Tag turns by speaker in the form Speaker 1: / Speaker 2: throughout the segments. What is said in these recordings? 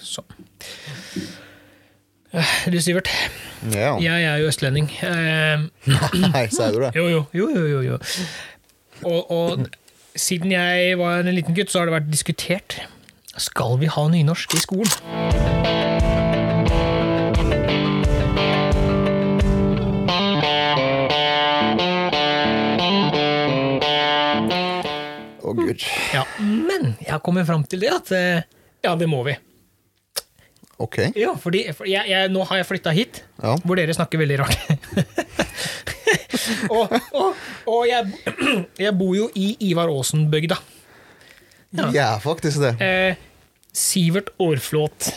Speaker 1: Sånn. Eh, Du, Sivert.
Speaker 2: Ja.
Speaker 1: Jeg er jo østlending. Eh,
Speaker 2: Nei, sier du det?
Speaker 1: Jo, jo, jo, jo, jo, jo. Og, og siden jeg var en liten gutt, så har det vært diskutert. Skal vi ha nynorsk i skolen?
Speaker 2: Å, gud.
Speaker 1: Ja, Men jeg kommer fram til det at eh, ja, det må vi.
Speaker 2: Ok.
Speaker 1: Ja, fordi for jeg, jeg, Nå har jeg flytta hit,
Speaker 2: Ja.
Speaker 1: hvor dere snakker veldig rart. og og, og jeg, jeg bor jo i Ivar Aasen-bygda. Ja.
Speaker 2: Ja, faktisk det.
Speaker 1: Eh, Sivert Aarflot.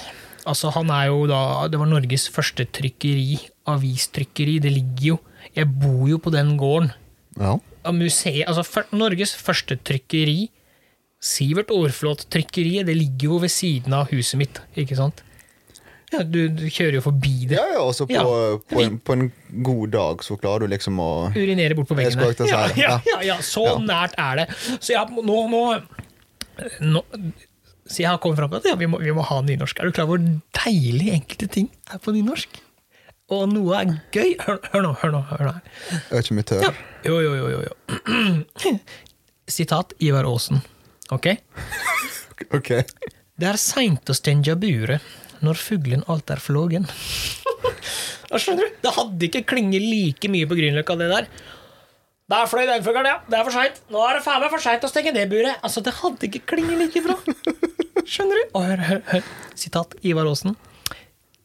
Speaker 1: Altså, han er jo da Det var Norges første trykkeri. Avistrykkeri. Det ligger jo Jeg bor jo på den gården.
Speaker 2: Ja.
Speaker 1: Av Museet Altså, fyr- Norges første trykkeri. Sivert Aarflot-trykkeriet, det ligger jo ved siden av huset mitt, ikke sant? Ja, du, du kjører jo forbi det.
Speaker 2: Ja, ja, også på,
Speaker 1: Ja.
Speaker 2: på, en, på en god dag så klarer du liksom å
Speaker 1: urinere bort på
Speaker 2: Jeg
Speaker 1: veggen
Speaker 2: skulle akkurat si
Speaker 1: Ja,
Speaker 2: det.
Speaker 1: ja, ja,
Speaker 2: Ja.
Speaker 1: ja, så
Speaker 2: Ja.
Speaker 1: nært er det. Så jeg, nå, nå, nå Så jeg har kommet fram til at ja, vi, må, vi må ha nynorsk. Er du klar over hvor deilig enkelte ting er på nynorsk? Og noe er gøy. Hør, hør nå, hør nå. hør nå. her.
Speaker 2: Økjemitør.
Speaker 1: Ja. Jo, jo, jo, jo, jo. Sitat Ivar Aasen. Ok?
Speaker 2: Ok.
Speaker 1: Det er seint å stenge buret når fuglen alt er flågen. Da skjønner du? Det hadde ikke klinget like mye på Grünerløkka, det der. Der fløy den fuglen, ja. Det er for seint. Nå er det faen meg for seint å stenge det buret. Altså, det hadde ikke klinget like bra. Skjønner du? Og hør, hør, hør. Sitat Ivar Aasen.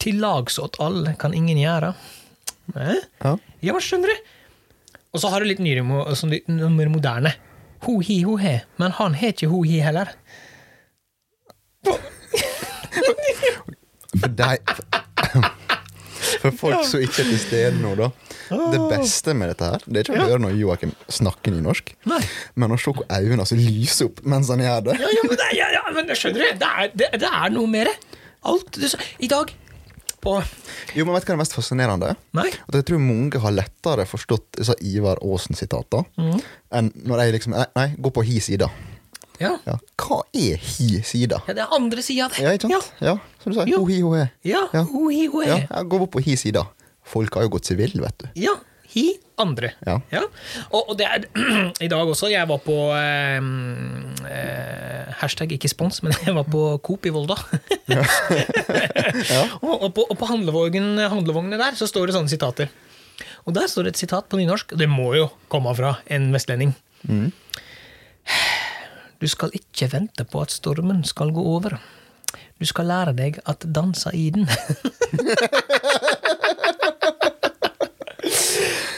Speaker 1: Til lags åt alle kan ingen gjøre. Eh?
Speaker 2: Ja.
Speaker 1: Ja, hva skjønner du? Og så har du litt nyere, mo- sånn litt mer moderne. Ho hi ho he, men han het ikke ho hi heller.
Speaker 2: For deg For folk som ikke er til stede nå, da. Det beste med dette her Det er ikke å høre når Joakim snakker nynorsk,
Speaker 1: Nei.
Speaker 2: men å se hvor øynene altså lyser opp mens han gjør det.
Speaker 1: Ja, ja, men, det, ja, ja, men jeg skjønner det. Det er, det, det er noe mer. Alt du sa I dag På
Speaker 2: Jo, men Vet du hva det er mest fascinerende? er?
Speaker 1: Nei.
Speaker 2: At Jeg tror mange har lettere forstått disse Ivar Aasen-sitater
Speaker 1: Mm.
Speaker 2: enn når jeg liksom Nei, nei gå på hi sida.
Speaker 1: Ja.
Speaker 2: Ja. Hva er hi sida?
Speaker 1: ja det er andre sida av det.
Speaker 2: Ja, ikke sant? Ja, som du sa.
Speaker 1: Jo.
Speaker 2: Ho, hi, ho, he.
Speaker 1: Ja. ja.
Speaker 2: Ja.
Speaker 1: Ho, hi, ho, he.
Speaker 2: Ja, ja, gå opp på hi sida. Folk har jo gått seg vill, vet du.
Speaker 1: Ja, hi andre.
Speaker 2: Ja.
Speaker 1: Og, og det er i dag også. Jeg var på eh, eh, Hashtag ikke spons, men jeg var på Coop i Volda. og, og på, og på handlevogn, handlevognene der så står det sånne sitater. Og der står det et sitat på nynorsk, og det må jo komme fra en vestlending. Du skal ikke vente på at stormen skal gå over. Du skal lære deg at dansa i den.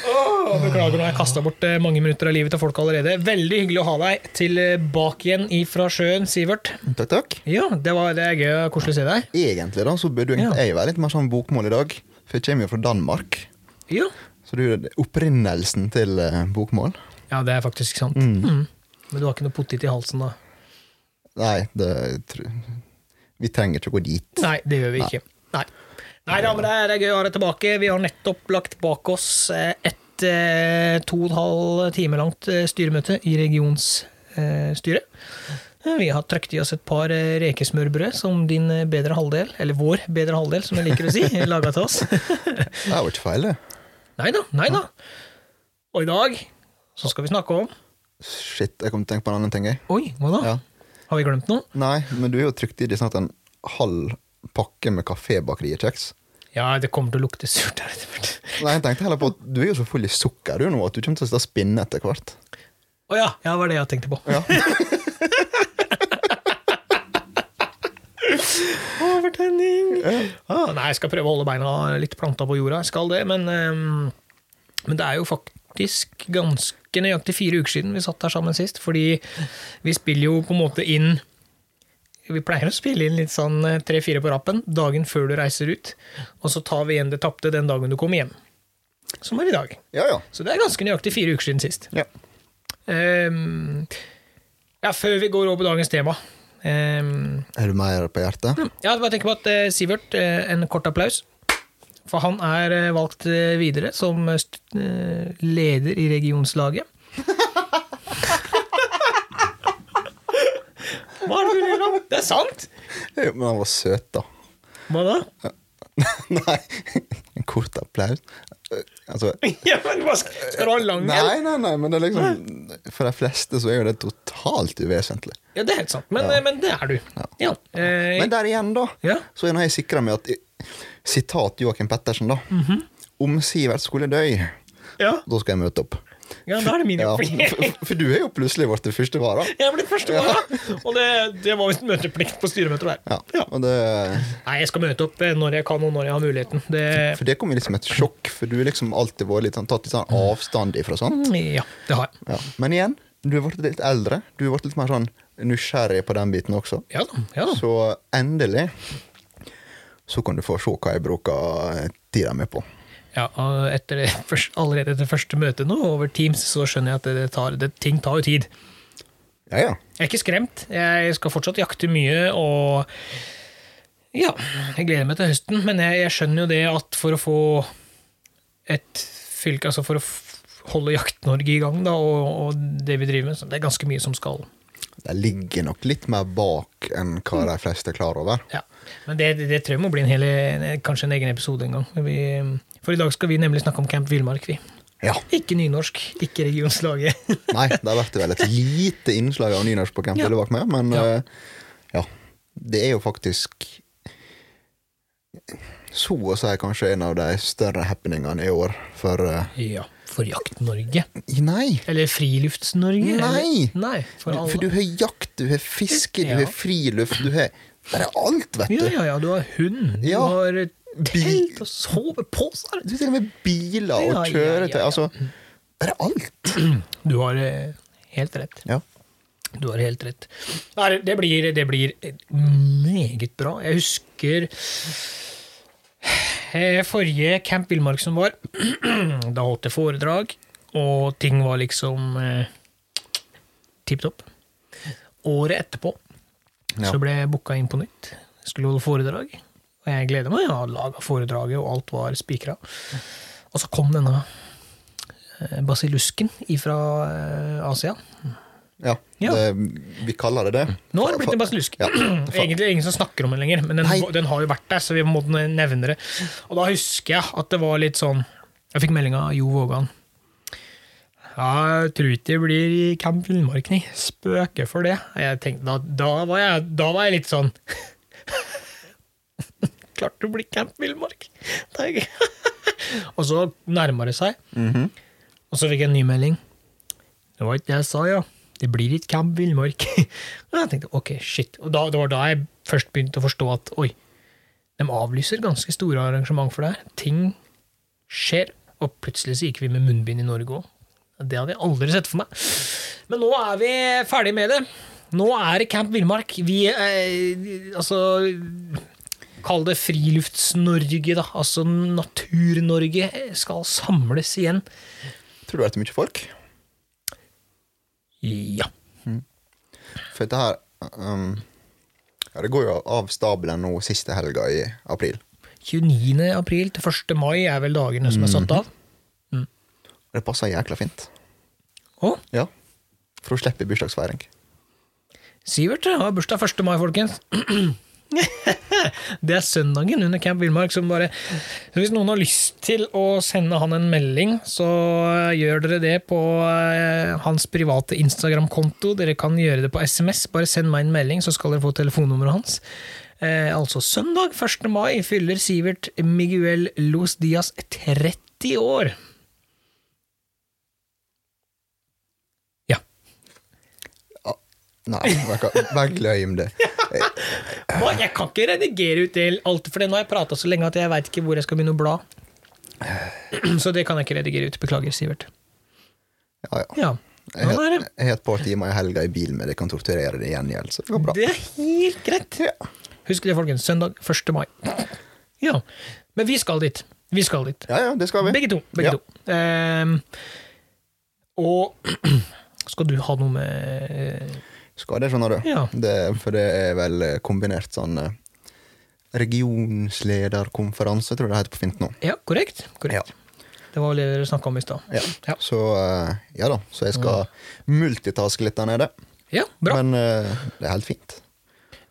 Speaker 1: Åh, Beklager, nå har jeg kasta bort eh, mange minutter av livet til folk allerede. Veldig hyggelig å ha deg tilbake igjen ifra sjøen, Sivert.
Speaker 2: Takk, takk.
Speaker 1: Ja, det, var, det er gøy og koselig å se deg.
Speaker 2: Egentlig da, så burde jo egentlig jeg være litt mer sånn bokmål i dag, for jeg kommer jo fra Danmark.
Speaker 1: Ja,
Speaker 2: Så du er opprinnelsen til eh, bokmål?
Speaker 1: ja det er faktisk sant. Mm. Men du har ikke noe potet i halsen, da?
Speaker 2: Nei, det tr- Vi trenger ikke å gå dit.
Speaker 1: Nei, det gjør vi ikke. Nei. Nei, da, men det er, det er gøy å ha deg tilbake. Vi har nettopp lagt bak oss eh, et eh, to og en halv time langt eh, styremøte i regionsstyret. Eh, Vi har trøkt i oss et par eh, rekesmørbrød som din eh, bedre halvdel, eller vår bedre halvdel, som jeg liker å si, laga til oss.
Speaker 2: Det er jo ikke feil, det.
Speaker 1: Nei da, nei da. Og i dag så skal vi snakke om
Speaker 2: Shit, jeg kom til å tenke på en annen ting, jeg.
Speaker 1: Oi, hva da?
Speaker 2: Ja.
Speaker 1: Har vi glemt noe?
Speaker 2: Nei, men du er jo trygt i det snart en halv pakke med kafébakeriekjeks.
Speaker 1: Ja, det kommer til å lukte surt her etter hvert.
Speaker 2: Nei, jeg tenkte heller på at du er jo så full i sukker du nå at du kommer til å sitte og spinne etter hvert.
Speaker 1: Å ja, ja, det var det jeg tenkte på.
Speaker 2: Ja.
Speaker 1: Overtenning! Ah, nei, jeg skal prøve å holde beina litt planta på jorda. Jeg skal det, men, ehm, men det er jo faktisk ganske nøyaktig fire uker siden vi satt her sammen sist. Fordi vi spiller jo på en måte inn Vi pleier å spille inn litt sånn eh, tre-fire på rappen dagen før du reiser ut. Og så tar vi igjen det tapte den dagen du kommer hjem. Som er i dag.
Speaker 2: Ja, ja.
Speaker 1: Så det er ganske nøyaktig fire uker siden sist.
Speaker 2: ja.
Speaker 1: Ehm, ja, før vi går over på dagens tema. ehm,
Speaker 2: Er du mer på hjertet?
Speaker 1: jeg hadde bare tenkt på at eh, Sivert, eh, en kort applaus. For han er eh, valgt eh, videre som eh, st eh, leder i regionslaget. Hva er det du ler av? Det er sant!
Speaker 2: Jo, Men han var søt, da.
Speaker 1: Hva da?
Speaker 2: Nei, en kort applaus. Eh, Altså
Speaker 1: Ja, men hva skal, skal du ha lang en?
Speaker 2: Nei, nei, nei, men det er liksom For de fleste så er jo det totalt uvesentlig.
Speaker 1: Ja, det er helt sant. Men, eh, men det er du. Ja. Eh,
Speaker 2: Men der igjen, da,
Speaker 1: Ja.
Speaker 2: så har jeg sikra meg at Sitat Joakim Pettersen, da.
Speaker 1: Mhm.
Speaker 2: Om Sivert skulle dø,
Speaker 1: Eh, ja.
Speaker 2: da skal jeg møte opp.
Speaker 1: ja, da er det min
Speaker 2: Ja,
Speaker 1: plikt.
Speaker 2: for, for du er jo plutselig blitt første vara.
Speaker 1: Jeg ble første vara, og det, det var visst møteplikt på styremøtet der.
Speaker 2: Ja, og det
Speaker 1: Nei, jeg skal møte opp eh, når jeg kan, og når jeg har muligheten. Det,
Speaker 2: For det kom jo liksom et sjokk, for du har liksom alltid vært litt sånn, tatt litt sånn avstand ifra sånt.
Speaker 1: ja, det har jeg.
Speaker 2: Ja. Men igjen, du har blitt litt eldre. Du har blitt litt mer sånn nysgjerrig på den biten også.
Speaker 1: Ja da. ja da.
Speaker 2: Så endelig så kan du få se hva jeg bruker tida mi på.
Speaker 1: Ja, og etter det, først, allerede etter første møte nå, over Teams, så skjønner jeg at det tar, det, ting tar jo tid.
Speaker 2: Ja, ja.
Speaker 1: Jeg er ikke skremt. Jeg skal fortsatt jakte mye, og ja, jeg gleder meg til høsten. Men jeg, jeg skjønner jo det at for å få et fylke, altså for å f- holde Jakt-Norge i gang, da, og, og det vi driver med, så det er ganske mye som skal
Speaker 2: De ligger nok litt mer bak enn hva de fleste er klar over.
Speaker 1: Ja. Men det, det tror jeg må bli en hele, kanskje en egen episode en gang. Vi, for i dag skal vi nemlig snakke om Camp Villmark, vi.
Speaker 2: Ja.
Speaker 1: Ikke nynorsk, ikke regionslaget.
Speaker 2: Nei, det har vært vel et lite innslag av nynorsk på Camp
Speaker 1: Ja.
Speaker 2: Lillebakk med, men
Speaker 1: Ja.
Speaker 2: eh, ja. Det er jo faktisk så å si kanskje en av de større happeningene i år, for eh,
Speaker 1: ja. For Jakt-Norge.
Speaker 2: Nei!
Speaker 1: Eller Frilufts-Norge.
Speaker 2: Nei!
Speaker 1: Eller, nei for
Speaker 2: Du,
Speaker 1: alle.
Speaker 2: for du har jakt, du har fiske,
Speaker 1: Ja.
Speaker 2: du har friluft, du har Det er alt, vet
Speaker 1: Ja,
Speaker 2: du.
Speaker 1: ja, ja. Du har hund,
Speaker 2: Ja.
Speaker 1: du har telt
Speaker 2: Bil.
Speaker 1: og soveposer.
Speaker 2: Du har til og med biler
Speaker 1: Ja, ja,
Speaker 2: og
Speaker 1: ja,
Speaker 2: kjøretøy.
Speaker 1: ja.
Speaker 2: Altså, det er alt.
Speaker 1: Du har eh, helt rett.
Speaker 2: Ja.
Speaker 1: Du har helt rett. Nei, det blir, det blir meget bra. Jeg husker eh, forrige Camp Villmark som var. Da holdt jeg foredrag, og ting var liksom eh, tipp topp. Året etterpå
Speaker 2: Ja.
Speaker 1: så ble jeg booka inn på nytt. Skulle holde foredrag. Og jeg gleda meg, jeg hadde laga foredraget, og alt var spikra. Og så kom denne eh, basillusken ifra eh, Asia.
Speaker 2: ja.
Speaker 1: Ja.
Speaker 2: Det, vi kaller det det.
Speaker 1: Nå har det blitt en basillusk.
Speaker 2: Ja.
Speaker 1: Mm, Egentlig ingen som snakker om det lenger, men den,
Speaker 2: Nei.
Speaker 1: den har jo vært der, så vi må nevne det. Og da husker jeg at det var litt sånn Jeg fikk melding av Jo Vågan. Ja, jeg tror ikke det blir i Camp Villmark, nei. Spøke for det. Jeg tenkte, da, da, var jeg, da var jeg litt sånn Klart det blir Camp Villmark! Tenker jeg. og så nærmer det seg, og så fikk jeg en ny melding. Det var ikke det jeg sa, ja. Det blir ikke Camp Villmark. og jeg tenkte ok, shit. Og da, det var da jeg først begynte å forstå at oi, de avlyser ganske store arrangement for det her. Ting skjer, og plutselig så gikk vi med munnbind i Norge òg. Det hadde jeg aldri sett for meg. Men nå er vi ferdig med det. Nå er det Camp Villmark. Vi eh, altså Kall det Frilufts-Norge, da. Altså Natur-Norge skal samles igjen.
Speaker 2: Tror du det er mye folk?
Speaker 1: Ja.
Speaker 2: For dette her um, ja, Det går jo av stabelen nå siste helga i april.
Speaker 1: 29. april til 1. mai er vel dagene som er satt av.
Speaker 2: Og det passer jækla fint.
Speaker 1: Å,
Speaker 2: Ja. For å slippe bursdagsfeiring.
Speaker 1: Sivert har bursdag 1. mai, folkens. Det er søndagen under Camp Villmark som bare Så hvis noen har lyst til å sende han en melding, så gjør dere det på eh, hans private Instagram-konto. Dere kan gjøre det på SMS. Bare send meg en melding, så skal dere få telefonnummeret hans. Eh, altså søndag 1. mai fyller Sivert Miguel Los Dias 30 år. Ja.
Speaker 2: Nei, vær- vær glem det.
Speaker 1: Hva? Jeg kan ikke redigere ut det alt, for nå har jeg prata så lenge at jeg veit ikke hvor jeg skal begynne å bla. Så det kan jeg ikke redigere ut. Beklager, Sivert.
Speaker 2: Ja, ja.
Speaker 1: Ja,
Speaker 2: Jeg
Speaker 1: sånn er det.
Speaker 2: har et par timer i helga i bilen med det, kan torturere det i gjengjeld. Så det går bra.
Speaker 1: Det er helt greit. Husk det, folkens. Søndag 1. mai. Ja. Men vi skal dit. Vi skal dit.
Speaker 2: Ja, ja, det skal vi.
Speaker 1: Begge to. Begge
Speaker 2: Ja.
Speaker 1: to. Ehm, og skal du ha noe med eh,
Speaker 2: Skal det, skjønner du.
Speaker 1: Ja.
Speaker 2: Det, for det er vel eh, kombinert sånn eh, regionslederkonferanse, tror jeg det heter på fint nå.
Speaker 1: Ja, korrekt? korrekt. Det var vel det dere snakka om i stad.
Speaker 2: Ja.
Speaker 1: Ja.
Speaker 2: Så eh, ja da, så jeg skal multitaske litt der nede.
Speaker 1: ja, bra.
Speaker 2: Men eh, det er helt fint.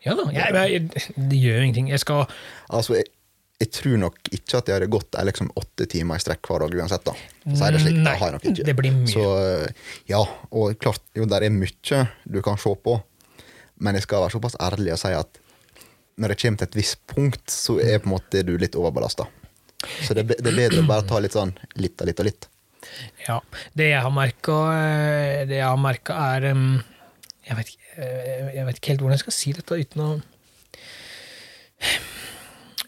Speaker 1: Ja da, jeg, jeg, det gjør jo ingenting. Jeg skal
Speaker 2: Altså, jeg, jeg tror nok ikke at jeg hadde gått eh, liksom, åtte timer i strekk hver dag uansett. da. Så er det slik,
Speaker 1: Nei,
Speaker 2: det har jeg nok ikke.
Speaker 1: det blir mye.
Speaker 2: Så, eh, ja, og klart, jo, der er mye du kan se på, men jeg skal være såpass ærlig og si at når det kommer til et visst punkt, så er på en måte du litt overbelasta. Så det, er be- det er bedre å bare ta litt sånn litt og litt og litt.
Speaker 1: Ja. Det jeg har merka, det jeg har merket er em, jeg vet, ikke- eh, jeg vet ikke helt hvordan jeg skal si dette uten å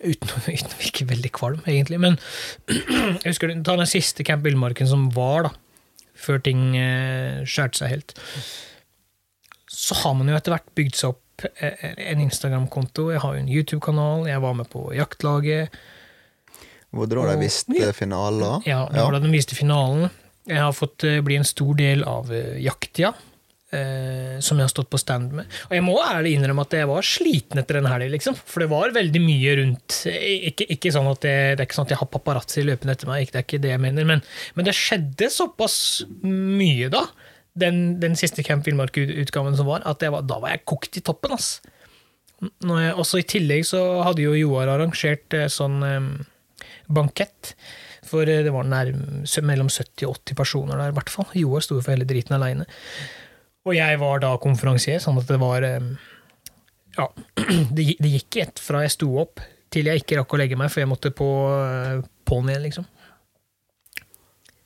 Speaker 1: Uten, å- uten å virke veldig kvalm, egentlig. Men jeg husker den- ta den siste Camp Villmarken som var, da. Før ting eh, skjærte seg helt. Så har man jo etter hvert bygd seg opp eh, en Instagram-konto, jeg har jo en YouTube-kanal, jeg var med på Jaktlaget.
Speaker 2: Hvor drar de visst
Speaker 1: Ja.
Speaker 2: eh, finaler?
Speaker 1: Ja, det var da den viste finalen. Jeg har fått eh, bli en stor del av eh, jakttida, eh, som jeg har stått på stand med. Og jeg må ærlig innrømme at jeg var sliten etter den helgen, liksom. For det var veldig mye rundt. Eh, Ikke, ikke sånn at jeg, det er ikke sånn at jeg har paparazzi løpende etter meg, ikke- det er ikke det jeg mener. Men, men det skjedde såpass mye da, den, den siste Camp Villmark-utgaven som var, at jeg var, da var jeg kokt i toppen, ass. Når jeg, også I tillegg så hadde jo Joar arrangert eh, sånn eh, bankett. For eh, det var nærm, sø- mellom 70 og 80 personer der, i hvert fall. Joar sto jo for hele driten aleine. Og jeg var da konferansier, sånn at det var eh, Ja, det, gi- det gikk i ett fra jeg sto opp til jeg ikke rakk å legge meg, for jeg måtte på eh, på'n igjen, liksom.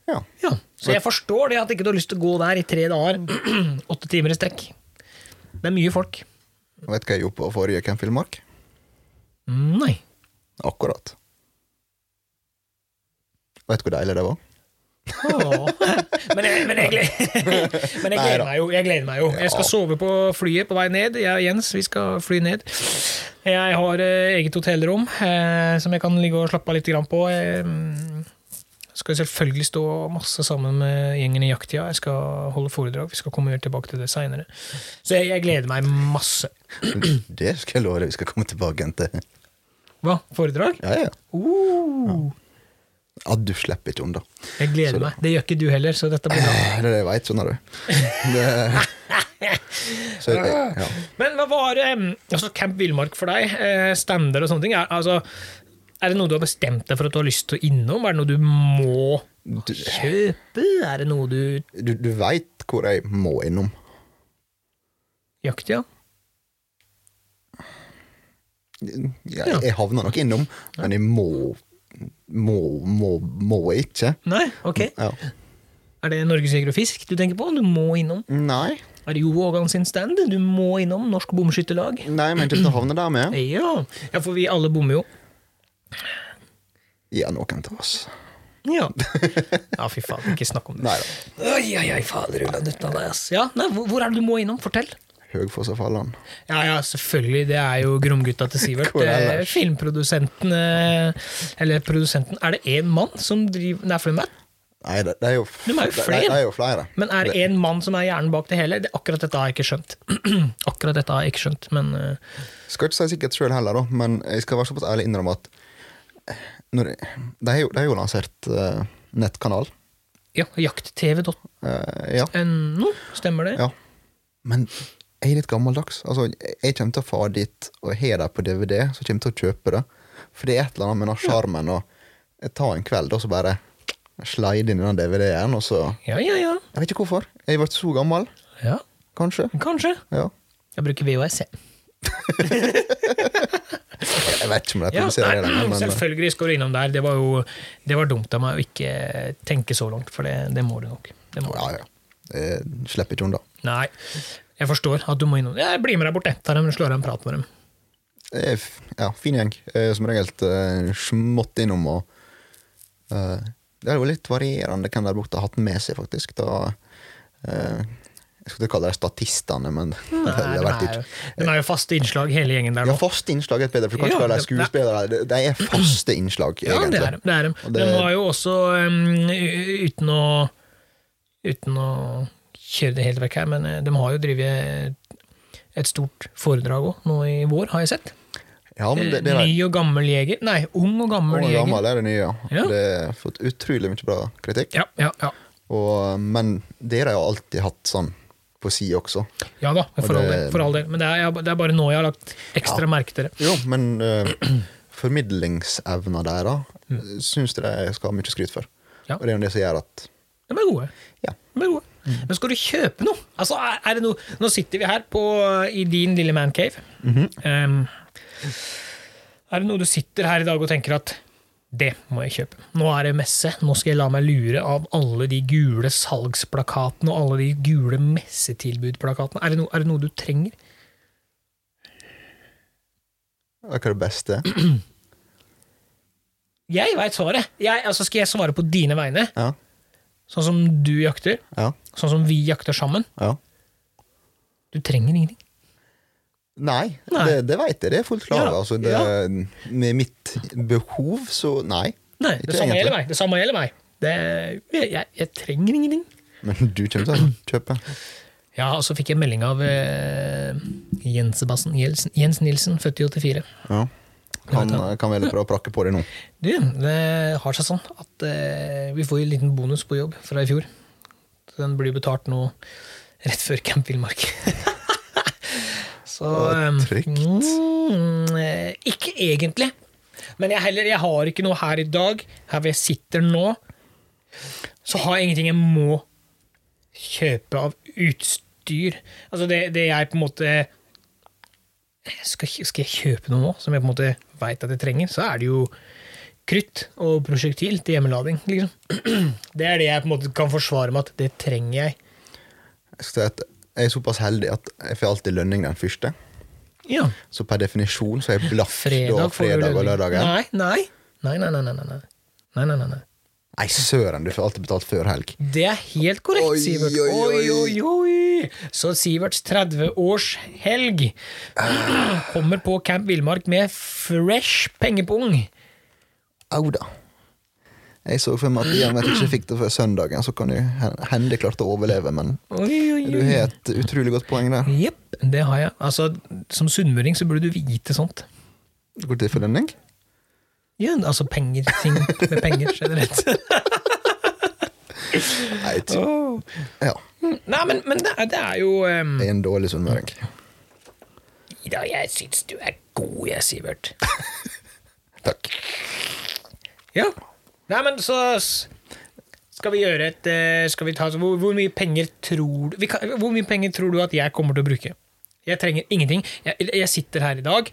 Speaker 2: Ja.
Speaker 1: Ja, Så jeg forstår det at ikke du har lyst til å gå der i tre dager, åtte timer i strekk. Det er mye folk.
Speaker 2: Vet du hva jeg gjorde på forrige Camp Villmark?
Speaker 1: Nei.
Speaker 2: Akkurat. Vet du hvor deilig det var?
Speaker 1: Åh. Men, jeg, men, jeg, gleder, men jeg, gleder
Speaker 2: Neida.
Speaker 1: meg jo, jeg gleder meg jo. Jeg skal
Speaker 2: Ja.
Speaker 1: sove på flyet på vei ned. Jeg og Jens vi skal fly ned. Jeg har eh, eget hotellrom eh, som jeg kan ligge og slappe av litt grann på. Jeg mm, skal selvfølgelig stå masse sammen med gjengen i jakttida. Jeg skal holde foredrag. Vi skal komme mer tilbake til det seinere. Så jeg, jeg gleder meg masse.
Speaker 2: Det skal jeg love deg vi skal komme tilbake igjen til.
Speaker 1: Hva? Foredrag?
Speaker 2: Ja, ja.
Speaker 1: Uh,
Speaker 2: ja du slipper ikke unna.
Speaker 1: jeg gleder meg. Det gjør ikke du heller, så dette blir bra.
Speaker 2: Det er det jeg veit, skjønner du. Det, så, jeg- ja.
Speaker 1: Men hva var um, altså Camp Villmark for deg? eh, Stander og sånne ting? Er, altså, er det noe du har bestemt deg for at du har lyst til å innom? Er det noe du må
Speaker 2: Du,
Speaker 1: kjøpe? Er det noe du
Speaker 2: du, du veit hvor jeg må innom.
Speaker 1: jakter? Ja?
Speaker 2: Jeg, jeg havner nok innom, men jeg må Må, må, må jeg ikke.
Speaker 1: Nei? Ok.
Speaker 2: Ja.
Speaker 1: Er det Norges Jeger og Fisk du tenker på? Du må innom.
Speaker 2: Nei,
Speaker 1: Er det Jo Vågan sin stand? Du må innom. Norsk Bomskytterlag.
Speaker 2: nei, men ikke til å havne der med.
Speaker 1: Ja. ja, for vi alle bommer jo.
Speaker 2: Ja, noen til oss.
Speaker 1: Ja. ja, fy faen. Ikke snakk om det.
Speaker 2: Nei da.
Speaker 1: Oi, oi, oi, fader ulla dutta deg, ass. Ja, nei, hvor- hvor er det du må innom? Fortell.
Speaker 2: Høgfoss og Falland.
Speaker 1: Ja, ja, selvfølgelig. Det er jo Gromgutta til Sivert.
Speaker 2: Hvor
Speaker 1: Eh,
Speaker 2: ellers?
Speaker 1: Filmprodusenten eh, Eller produsenten Er det én mann som driver Nei, for dem er
Speaker 2: Nei, det, det er jo, f-
Speaker 1: De er jo
Speaker 2: det-
Speaker 1: flere.
Speaker 2: Det, det er jo flere.
Speaker 1: Men er det én mann som er hjernen bak det hele? Det, akkurat dette har jeg ikke skjønt. akkurat dette har jeg ikke skjønt, men eh,
Speaker 2: Skal ikke si sikkert sjøl heller, da, men jeg skal være såpass ærlig innrømme at eh, når, de, har jo, de har jo lansert eh, nettkanal.
Speaker 1: ja, jakttv.no,
Speaker 2: eh, ja,
Speaker 1: stemmer det?
Speaker 2: ja. Men jeg er litt gammeldags. Altså, jeg- jeg kommer til å fare dit og har det på DVD, så kommer jeg til å kjøpe det. For det er et eller annet med den sjarmen å ta en kveld og så bare slide inn i den DVD-en, og så
Speaker 1: Ja, ja, ja.
Speaker 2: Jeg vet ikke hvorfor. Jeg ble så gammel,
Speaker 1: ja.
Speaker 2: kanskje.
Speaker 1: Kanskje.
Speaker 2: Ja.
Speaker 1: Jeg bruker VHS, jeg.
Speaker 2: Jeg vet ikke om de
Speaker 1: Ja,
Speaker 2: produserer det
Speaker 1: nei,
Speaker 2: lenger, men eh,
Speaker 1: selvfølgelig skal du innom der. Det var jo det var dumt av meg å ikke tenke så langt, for det, det må du nok. Det må du.
Speaker 2: eh, ja, ja. Jeg slipper ikke unna.
Speaker 1: Nei, jeg forstår at du må innom. Jeg blir med deg bort, jeg. Tar dem, slår av en prat med dem.
Speaker 2: Det er f- ja, fin gjeng. Eh, Som regel eh, smått innom og eh, Det er jo litt varierende hvem der borte har hatt med seg, faktisk. Da, eh, jeg skulle ikke kalle dem statistene, men det
Speaker 1: Nei,
Speaker 2: har
Speaker 1: de,
Speaker 2: vært
Speaker 1: er,
Speaker 2: ikke.
Speaker 1: jo- de er jo faste innslag, hele gjengen der
Speaker 2: Ja,
Speaker 1: nå.
Speaker 2: faste innslag er et bedre, for du kan ikke
Speaker 1: Ja,
Speaker 2: kalle dem
Speaker 1: det-
Speaker 2: skuespillere. De- De er faste innslag,
Speaker 1: Ja, det
Speaker 2: egentlig.
Speaker 1: er de. Det er de.
Speaker 2: Og
Speaker 1: de
Speaker 2: det-
Speaker 1: var jo også, um, u- uten å Uten å kjøre det helt vekk her, men eh, de har jo drevet et stort foredrag òg, nå i vår, har jeg sett.
Speaker 2: Ja, men det, det er
Speaker 1: Ny og gammel jeger. Nei, ung og gammel
Speaker 2: Ung og
Speaker 1: jeger.
Speaker 2: gammel er det nye, ja.
Speaker 1: Ja.
Speaker 2: Det har fått utrolig mye bra kritikk.
Speaker 1: Ja, ja, ja.
Speaker 2: Og, men dere har jo alltid hatt sånn på si også.
Speaker 1: Ja da, for,
Speaker 2: Og
Speaker 1: all
Speaker 2: det-
Speaker 1: del, for all del. Men det er, jeg- det er bare nå jeg har lagt ekstra merke til det.
Speaker 2: Jo, men uh, formidlingsevna deres mm. syns jeg de skal ha mye skryt for.
Speaker 1: Ja.
Speaker 2: Og det er jo det som gjør at
Speaker 1: De er gode.
Speaker 2: Ja.
Speaker 1: De er gode. Men skal du kjøpe noe? Altså, er, er det noe? Nå sitter vi her på, i din lille mancave. Em, er det noe du sitter her i dag og tenker at det må jeg kjøpe. Nå er det messe. Nå skal jeg la meg lure av alle de gule salgsplakatene og alle de gule messetilbudplakatene. Er det, no, er det noe du trenger?
Speaker 2: Hva er det beste?
Speaker 1: Jeg veit svaret. Jeg, altså, skal jeg svare på dine vegne?
Speaker 2: Ja,
Speaker 1: Sånn som du jakter?
Speaker 2: ja,
Speaker 1: Sånn som vi jakter sammen?
Speaker 2: ja.
Speaker 1: Du trenger ingenting.
Speaker 2: Nei,
Speaker 1: Nei.
Speaker 2: det, det veit jeg. Det er fullt klar over.
Speaker 1: Ja,
Speaker 2: Altså, det- med mitt behov, så nei.
Speaker 1: Nei,
Speaker 2: Ikke
Speaker 1: det samme
Speaker 2: egentlig.
Speaker 1: gjelder meg. Det samme gjelder meg. Det, jeg, jeg, jeg trenger ingenting.
Speaker 2: Men du kommer til å kjøpe.
Speaker 1: Ja, og så fikk jeg melding av eh, Jens Sebastian Jelsen, Jens Nilsen, født i 84.
Speaker 2: Ja. Han eh, kan vel prøve å prakke på det nå.
Speaker 1: Du, det har seg sånn at eh, vi får en liten bonus på jobb fra i fjor. Så Den blir betalt nå rett før Camp Villmark. så
Speaker 2: Å,
Speaker 1: eh,
Speaker 2: trygt.
Speaker 1: Mm, eh, ikke egentlig. Men jeg, heller, jeg har ikke noe her i dag, her hvor jeg sitter nå. Så har jeg ingenting jeg må kjøpe av utstyr. Altså det, det jeg på en måte skal, skal jeg kjøpe noe nå som jeg på en måte veit at jeg trenger, så er det jo krutt og prosjektil til hjemmelading. Liksom. Det er det jeg på en måte kan forsvare med at det trenger jeg.
Speaker 2: Jeg, skal si at jeg er såpass heldig at jeg får alltid lønning den første.
Speaker 1: Ja.
Speaker 2: Så per definisjon så er jeg blaff da
Speaker 1: Fredag, får du
Speaker 2: fredag og
Speaker 1: lønning.
Speaker 2: lørdagen.
Speaker 1: Nei, nei. Nei, nei, nei, nei, nei, nei. nei, nei, nei, nei.
Speaker 2: Nei, søren, du får alltid betalt før helg.
Speaker 1: Det er helt korrekt,
Speaker 2: Oi,
Speaker 1: Sivert.
Speaker 2: oi,
Speaker 1: Oi,
Speaker 2: oi.
Speaker 1: oi, oi! Så Siverts 30-årshelg
Speaker 2: Ah.
Speaker 1: kommer på Camp Villmark med fresh pengepung.
Speaker 2: Au da. Jeg så for meg at i og med at jeg ikke fikk det før søndagen, så kan det hende jeg klarte å overleve, men
Speaker 1: Oi, oi,
Speaker 2: du
Speaker 1: oi.
Speaker 2: har et utrolig godt poeng der.
Speaker 1: Jepp, det har jeg. Altså, Som sunnmøring så burde du vite sånt.
Speaker 2: Går det til for lønning?
Speaker 1: Ja, altså penger, ting med penger generelt.
Speaker 2: Nei, jeg tror- ja.
Speaker 1: Nei, men, men det, er, det er jo ehm,
Speaker 2: Jeg er en dårlig sunnmøring.
Speaker 1: Ida, jeg syns du er god, jeg, Sivert.
Speaker 2: Takk.
Speaker 1: Ja. Nei, men så s- skal vi gjøre et eh, skal vi ta, så hvor, hvor mye penger tror du vi kan, Hvor mye penger tror du at jeg kommer til å bruke? Jeg trenger ingenting. Jeg, jeg sitter her i dag.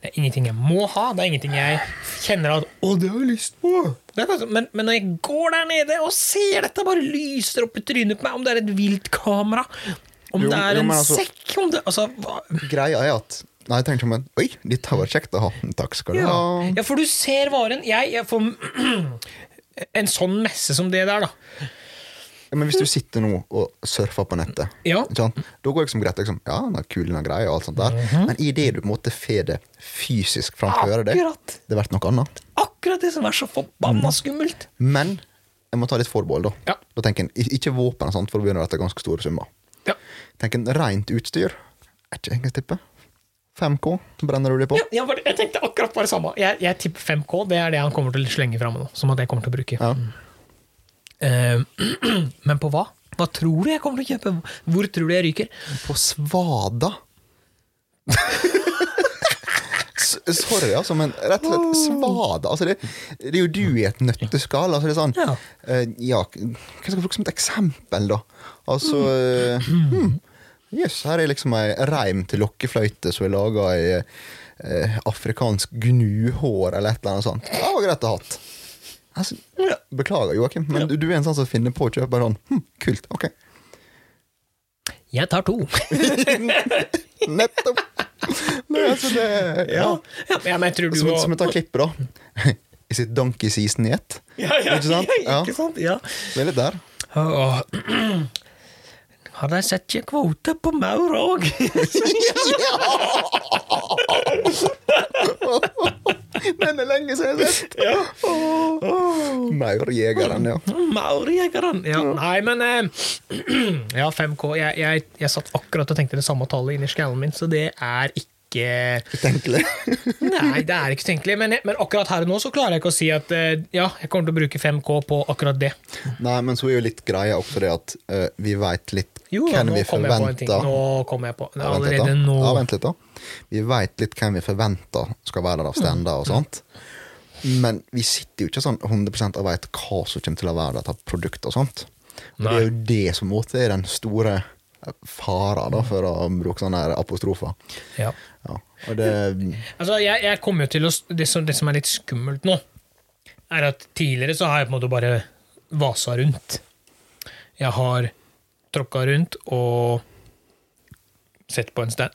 Speaker 1: Det er ingenting jeg må ha. Det er ingenting jeg kjenner at Å, det har jeg lyst på! Det er faktisk, men, men når jeg går der nede og ser dette, bare lyser opp i trynet på meg, om det er et viltkamera, om
Speaker 2: Jo,
Speaker 1: det er
Speaker 2: jo,
Speaker 1: en
Speaker 2: men altså-
Speaker 1: sekk om det, altså, hva,
Speaker 2: Greia er at Nei, jeg tenkte men Oi, dette var kjekt å ha. Takk skal du
Speaker 1: ja.
Speaker 2: ha.
Speaker 1: ja, for du ser varen. Jeg, jeg får en sånn messe som det der, da.
Speaker 2: Ja, Men hvis du sitter nå og surfer på nettet,
Speaker 1: Ja.
Speaker 2: ikke sant? da går det liksom greit. Liksom, ja, den er kul, den er grei, og alt sånt der.
Speaker 1: Mhm.
Speaker 2: Men idet du på en måte får det fysisk framfor deg,
Speaker 1: Akkurat.
Speaker 2: det blir noe annet.
Speaker 1: Akkurat det som er så
Speaker 2: Mm.
Speaker 1: forbanna skummelt.
Speaker 2: Men jeg må ta litt forbehold, da.
Speaker 1: Ja.
Speaker 2: Da tenker en, ik- Ikke våpen, og sånt, for å begynne dette er ganske store summer.
Speaker 1: Ja.
Speaker 2: Tenk en rent utstyr. Er ikke jeg tippe? 5K brenner du de på?
Speaker 1: Ja, jeg, bare, jeg tenkte akkurat bare det samme. Jeg, jeg tipper 5K. Det er det han kommer til å slenge fram nå. Som at jeg kommer til å bruke.
Speaker 2: Ja.
Speaker 1: Eh, men på hva? Hva tror du jeg kommer til å kjøpe? Hvor tror du jeg ryker?
Speaker 2: På svada? S- Sorry, altså, men rett og slett svada. Altså, det, det er jo du i et nøtteskall. Altså, det er sånn,
Speaker 1: Ja.
Speaker 2: eh, ja, k- hva skal jeg bruke som et eksempel, da? Altså eh, hmm, Jøss, her er liksom ei reim til lokkefløyte som er laga i eh, afrikansk gnuhår eller et eller annet sånt. Det var greit å ha hatt. Altså, beklager, Joakim, men du, du er en sånn som finner på å kjøpe en sånn. Hm, kult, ok.
Speaker 1: Jeg tar to.
Speaker 2: Nettopp! Nei, altså det ja. Altså,
Speaker 1: ja, men jeg tror du
Speaker 2: Som,
Speaker 1: må-
Speaker 2: som jeg tar klippet, da. I sitt donkey season i ett.
Speaker 1: ja, ja,
Speaker 2: Ikke sant? Ja.
Speaker 1: Ikke sant? Ja.
Speaker 2: Det er litt der.
Speaker 1: Åh. Har de sett ikke kvote på maur òg?
Speaker 2: Den er lenge siden jeg har sett!
Speaker 1: ja.
Speaker 2: Maurjegeren, ja.
Speaker 1: Maurjegeren. Ja.
Speaker 2: Mm.
Speaker 1: Nei, men eh, Ja, 5K. Jeg, jeg, jeg satt akkurat og tenkte det samme tallet inni skallen min, så det er ikke
Speaker 2: Utenkelig.
Speaker 1: Nei, det er ikke tenkelig. Men, jeg- men akkurat her og nå så klarer jeg ikke å si at eh, ja, jeg kommer til å bruke 5K på akkurat det.
Speaker 2: Nei, men så er jo litt greia også det at eh, vi veit litt
Speaker 1: Jo,
Speaker 2: Kan
Speaker 1: nå
Speaker 2: vi
Speaker 1: kom jeg på en ting.
Speaker 2: forvente-
Speaker 1: Nå kom jeg på det er
Speaker 2: Ja, vent litt,
Speaker 1: Allerede
Speaker 2: da.
Speaker 1: nå.
Speaker 2: Ja, vent litt, da. Vi veit litt hvem vi forventer skal være der av stander og sånt. Men vi sitter jo ikke sånn 100 og veit hva som kommer til å være der av produkt og sånt. Og det
Speaker 1: Nei.
Speaker 2: er jo det som på en måte er den store fara, da, for å bruke sånne her apostrofer.
Speaker 1: Ja.
Speaker 2: Ja. Og det
Speaker 1: Altså, jeg, jeg kommer jo til å s- det som, det som er litt skummelt nå, er at tidligere så har jeg på en måte bare vasa rundt. Jeg har tråkka rundt og sett på en stand.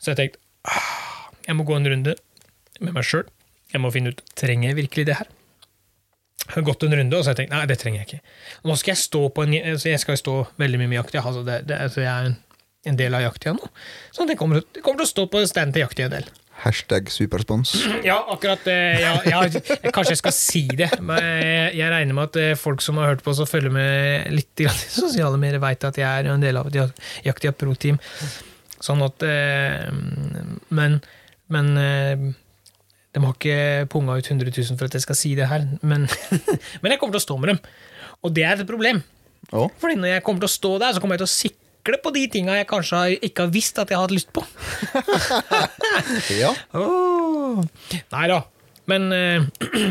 Speaker 1: Så jeg tenkte ah, jeg må gå en runde med meg sjøl. Jeg må finne ut trenger jeg virkelig det her. Jeg har gått en runde, og så har jeg tenkt nei, det trenger jeg ikke. Nå skal jeg stå på en, altså, jeg skal jo stå veldig mye med jaktida. Altså, det, det, altså, jeg er en, en del av jaktida nå. Så det kommer, det kommer til å stå på stand til jaktida en del.
Speaker 2: Hashtag superspons.
Speaker 1: Ja, akkurat eh, ja, ja, jeg- Kanskje jeg skal si det, men jeg, jeg regner med at eh, folk som har hørt på oss og følger med litt grann i sosiale medier, veit at jeg er en del av et jak- Jaktia Pro-team. Sånn at eh, Men, men eh, de har ikke punga ut 100 000 for at jeg skal si det her, men, men jeg kommer til å stå med dem. Og det er et problem.
Speaker 2: Ja.
Speaker 1: Fordi når jeg kommer til å stå der, så kommer jeg til å sikle på de tinga jeg kanskje har, ikke har visst at jeg har hatt lyst på.
Speaker 2: ja.
Speaker 1: Oh. Nei da. Men eh,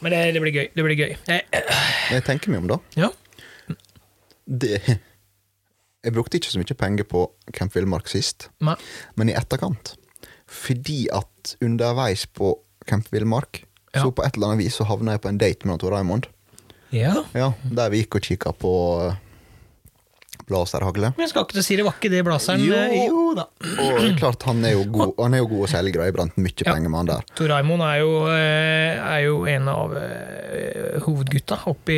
Speaker 1: Men det, det blir gøy. Det blir gøy. Eh, Jeg,
Speaker 2: Men jeg tenker meg om, da.
Speaker 1: ja.
Speaker 2: Det Jeg brukte ikke så mye penger på Camp Villmark sist.
Speaker 1: Nei.
Speaker 2: men i etterkant. Fordi at underveis på Camp Villmark,
Speaker 1: Ja.
Speaker 2: så på et eller annet vis så havna jeg på en date med han Tor Raymond.
Speaker 1: ja.
Speaker 2: Ja,
Speaker 1: Mhm.
Speaker 2: der vi gikk og kikka på eh, blazerhagle.
Speaker 1: Men jeg skal ikke til å si det var ikke det blazeren.
Speaker 2: Jo.
Speaker 1: eh, jo da.
Speaker 2: Og klart, han er jo god, han er jo god å selge, og jeg brant mye
Speaker 1: Ja.
Speaker 2: penger med han der.
Speaker 1: Tor Raymond er jo, eh, er jo en av eh, hovedgutta oppe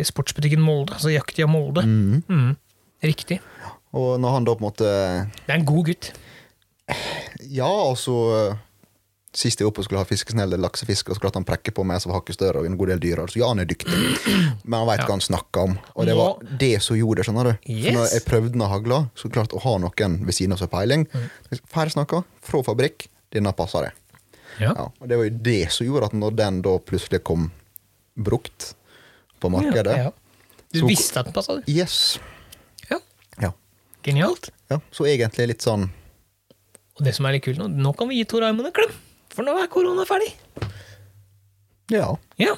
Speaker 1: i sportsbutikken Molde. Altså Jaktia Molde. Mm. Riktig.
Speaker 2: Og når han da på en måte
Speaker 1: Det er en god gutt.
Speaker 2: Ja, altså eh, Sist jeg var oppe og skulle ha fiskesnelle laksefiske, og så klarte han prekke på meg som var hakket større og en god del dyrere. Så ja, han er dyktig, men han veit hva han snakker om. Og det var det som gjorde det, skjønner du.
Speaker 1: Yes.
Speaker 2: For når jeg prøvde med hagla, så klart å ha noen ved siden av seg peiling.
Speaker 1: Mm.
Speaker 2: Ferdig snakka, fra fabrikk, denne passer jeg.
Speaker 1: Ja.
Speaker 2: Ja, og det var jo det som gjorde at når den da plutselig kom brukt på markedet
Speaker 1: Ja, ja. Du
Speaker 2: Så-
Speaker 1: visste at den passa, du.
Speaker 2: Yes.
Speaker 1: Ja.
Speaker 2: Ja.
Speaker 1: Genialt.
Speaker 2: ja. Så egentlig litt sånn
Speaker 1: Og det som er litt kult nå, nå kan vi gi Tor Raymond en klem! For nå er korona ferdig.
Speaker 2: Ja.
Speaker 1: Ja.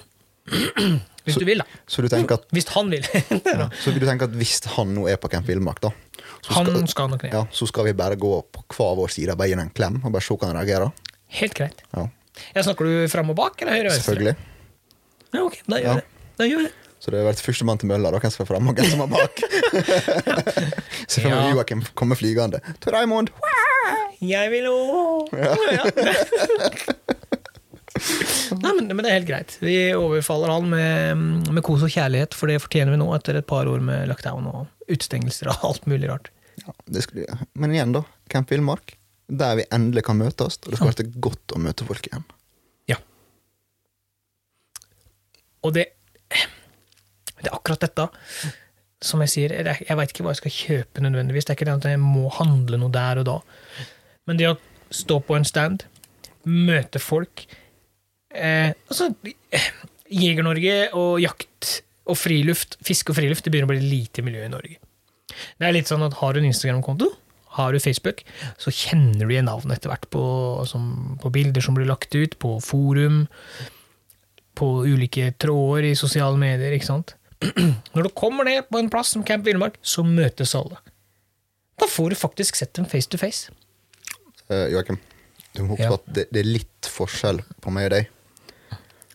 Speaker 1: Hvis du vil, da.
Speaker 2: Så du tenker at
Speaker 1: Hvis han vil.
Speaker 2: ja. Så vil du tenke at hvis han nå er på Camp Villmark, da, så skal,
Speaker 1: Han skal nok ned.
Speaker 2: ja, så skal vi bare gå på hver vår side og bare gi ham en klem og bare se hvordan han reagerer?
Speaker 1: Helt greit.
Speaker 2: Ja,
Speaker 1: Jeg snakker du fram og bak, eller høyre og venstre?
Speaker 2: Selvfølgelig.
Speaker 1: Ja, ok, da
Speaker 2: Ja.
Speaker 1: gjør jeg det. Da gjør jeg det.
Speaker 2: Så det har vært førstemann til mølla, da, hvem som er framme og hvem som er bak. Så får
Speaker 1: Ja.
Speaker 2: vi Joakim komme flygende. Tor Raymond!
Speaker 1: Jeg vil òg ja. Nei, men, men det er helt greit. Vi overfaller han med, med kos og kjærlighet, for det fortjener vi nå etter et par år med lockdown og utestengelser og alt mulig rart.
Speaker 2: Ja, det skulle, ja. Men igjen, da. Camp Villmark. Der vi endelig kan møtes. Og det skal være godt å møte folk igjen.
Speaker 1: Ja. Og det Det er akkurat dette. Som jeg sier, det er- jeg veit ikke hva jeg skal kjøpe nødvendigvis. Det er ikke det at jeg må handle noe der og da. Men det å stå på en stand, møte folk eh, Altså, eh, Jeger-Norge og jakt og friluft, fiske og friluft, det begynner å bli lite miljø i Norge. Det er litt sånn at Har du en Instagram-konto, har du Facebook, så kjenner du igjen navnet etter hvert på, som, på bilder som blir lagt ut, på forum, på ulike tråder i sosiale medier. ikke sant? Når du kommer ned på en plass som Camp Villmark, så møtes alle. Da får du faktisk sett dem face to face.
Speaker 2: Eh, Joakim, du må huske
Speaker 1: Ja.
Speaker 2: at det, det er litt forskjell på meg og deg.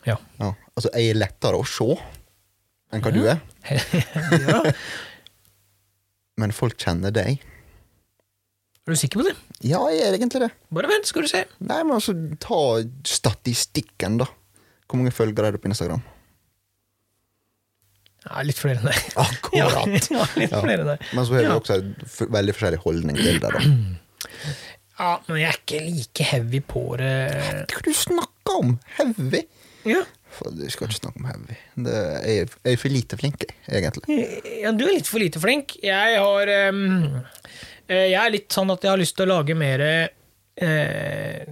Speaker 1: Ja.
Speaker 2: Ja. Altså, jeg er lettere å se enn hva du er,
Speaker 1: Er
Speaker 2: men folk kjenner deg.
Speaker 1: du sikker på det?
Speaker 2: Ja, jeg er egentlig det.
Speaker 1: Bare vent, skal du se.
Speaker 2: Nei, men altså, ta statistikken, da. Hvor mange følgere er du på Instagram?
Speaker 1: Ja, litt flere enn deg. Ja,
Speaker 2: Akkurat!
Speaker 1: ja, litt
Speaker 2: Ja.
Speaker 1: flere enn deg.
Speaker 2: Men så har vi
Speaker 1: Ja.
Speaker 2: også en f veldig forskjellig holdning til det, da.
Speaker 1: Ja, men jeg er ikke like heavy på det.
Speaker 2: Hva du snakker om? Heavy?
Speaker 1: Ja,
Speaker 2: For du skal ikke snakke om heavy. Det er, jeg er for lite flink, jeg, egentlig.
Speaker 1: Ja, du er litt for lite flink. Jeg har ehm, eh, Jeg er litt sånn at jeg har lyst til å lage mer eh,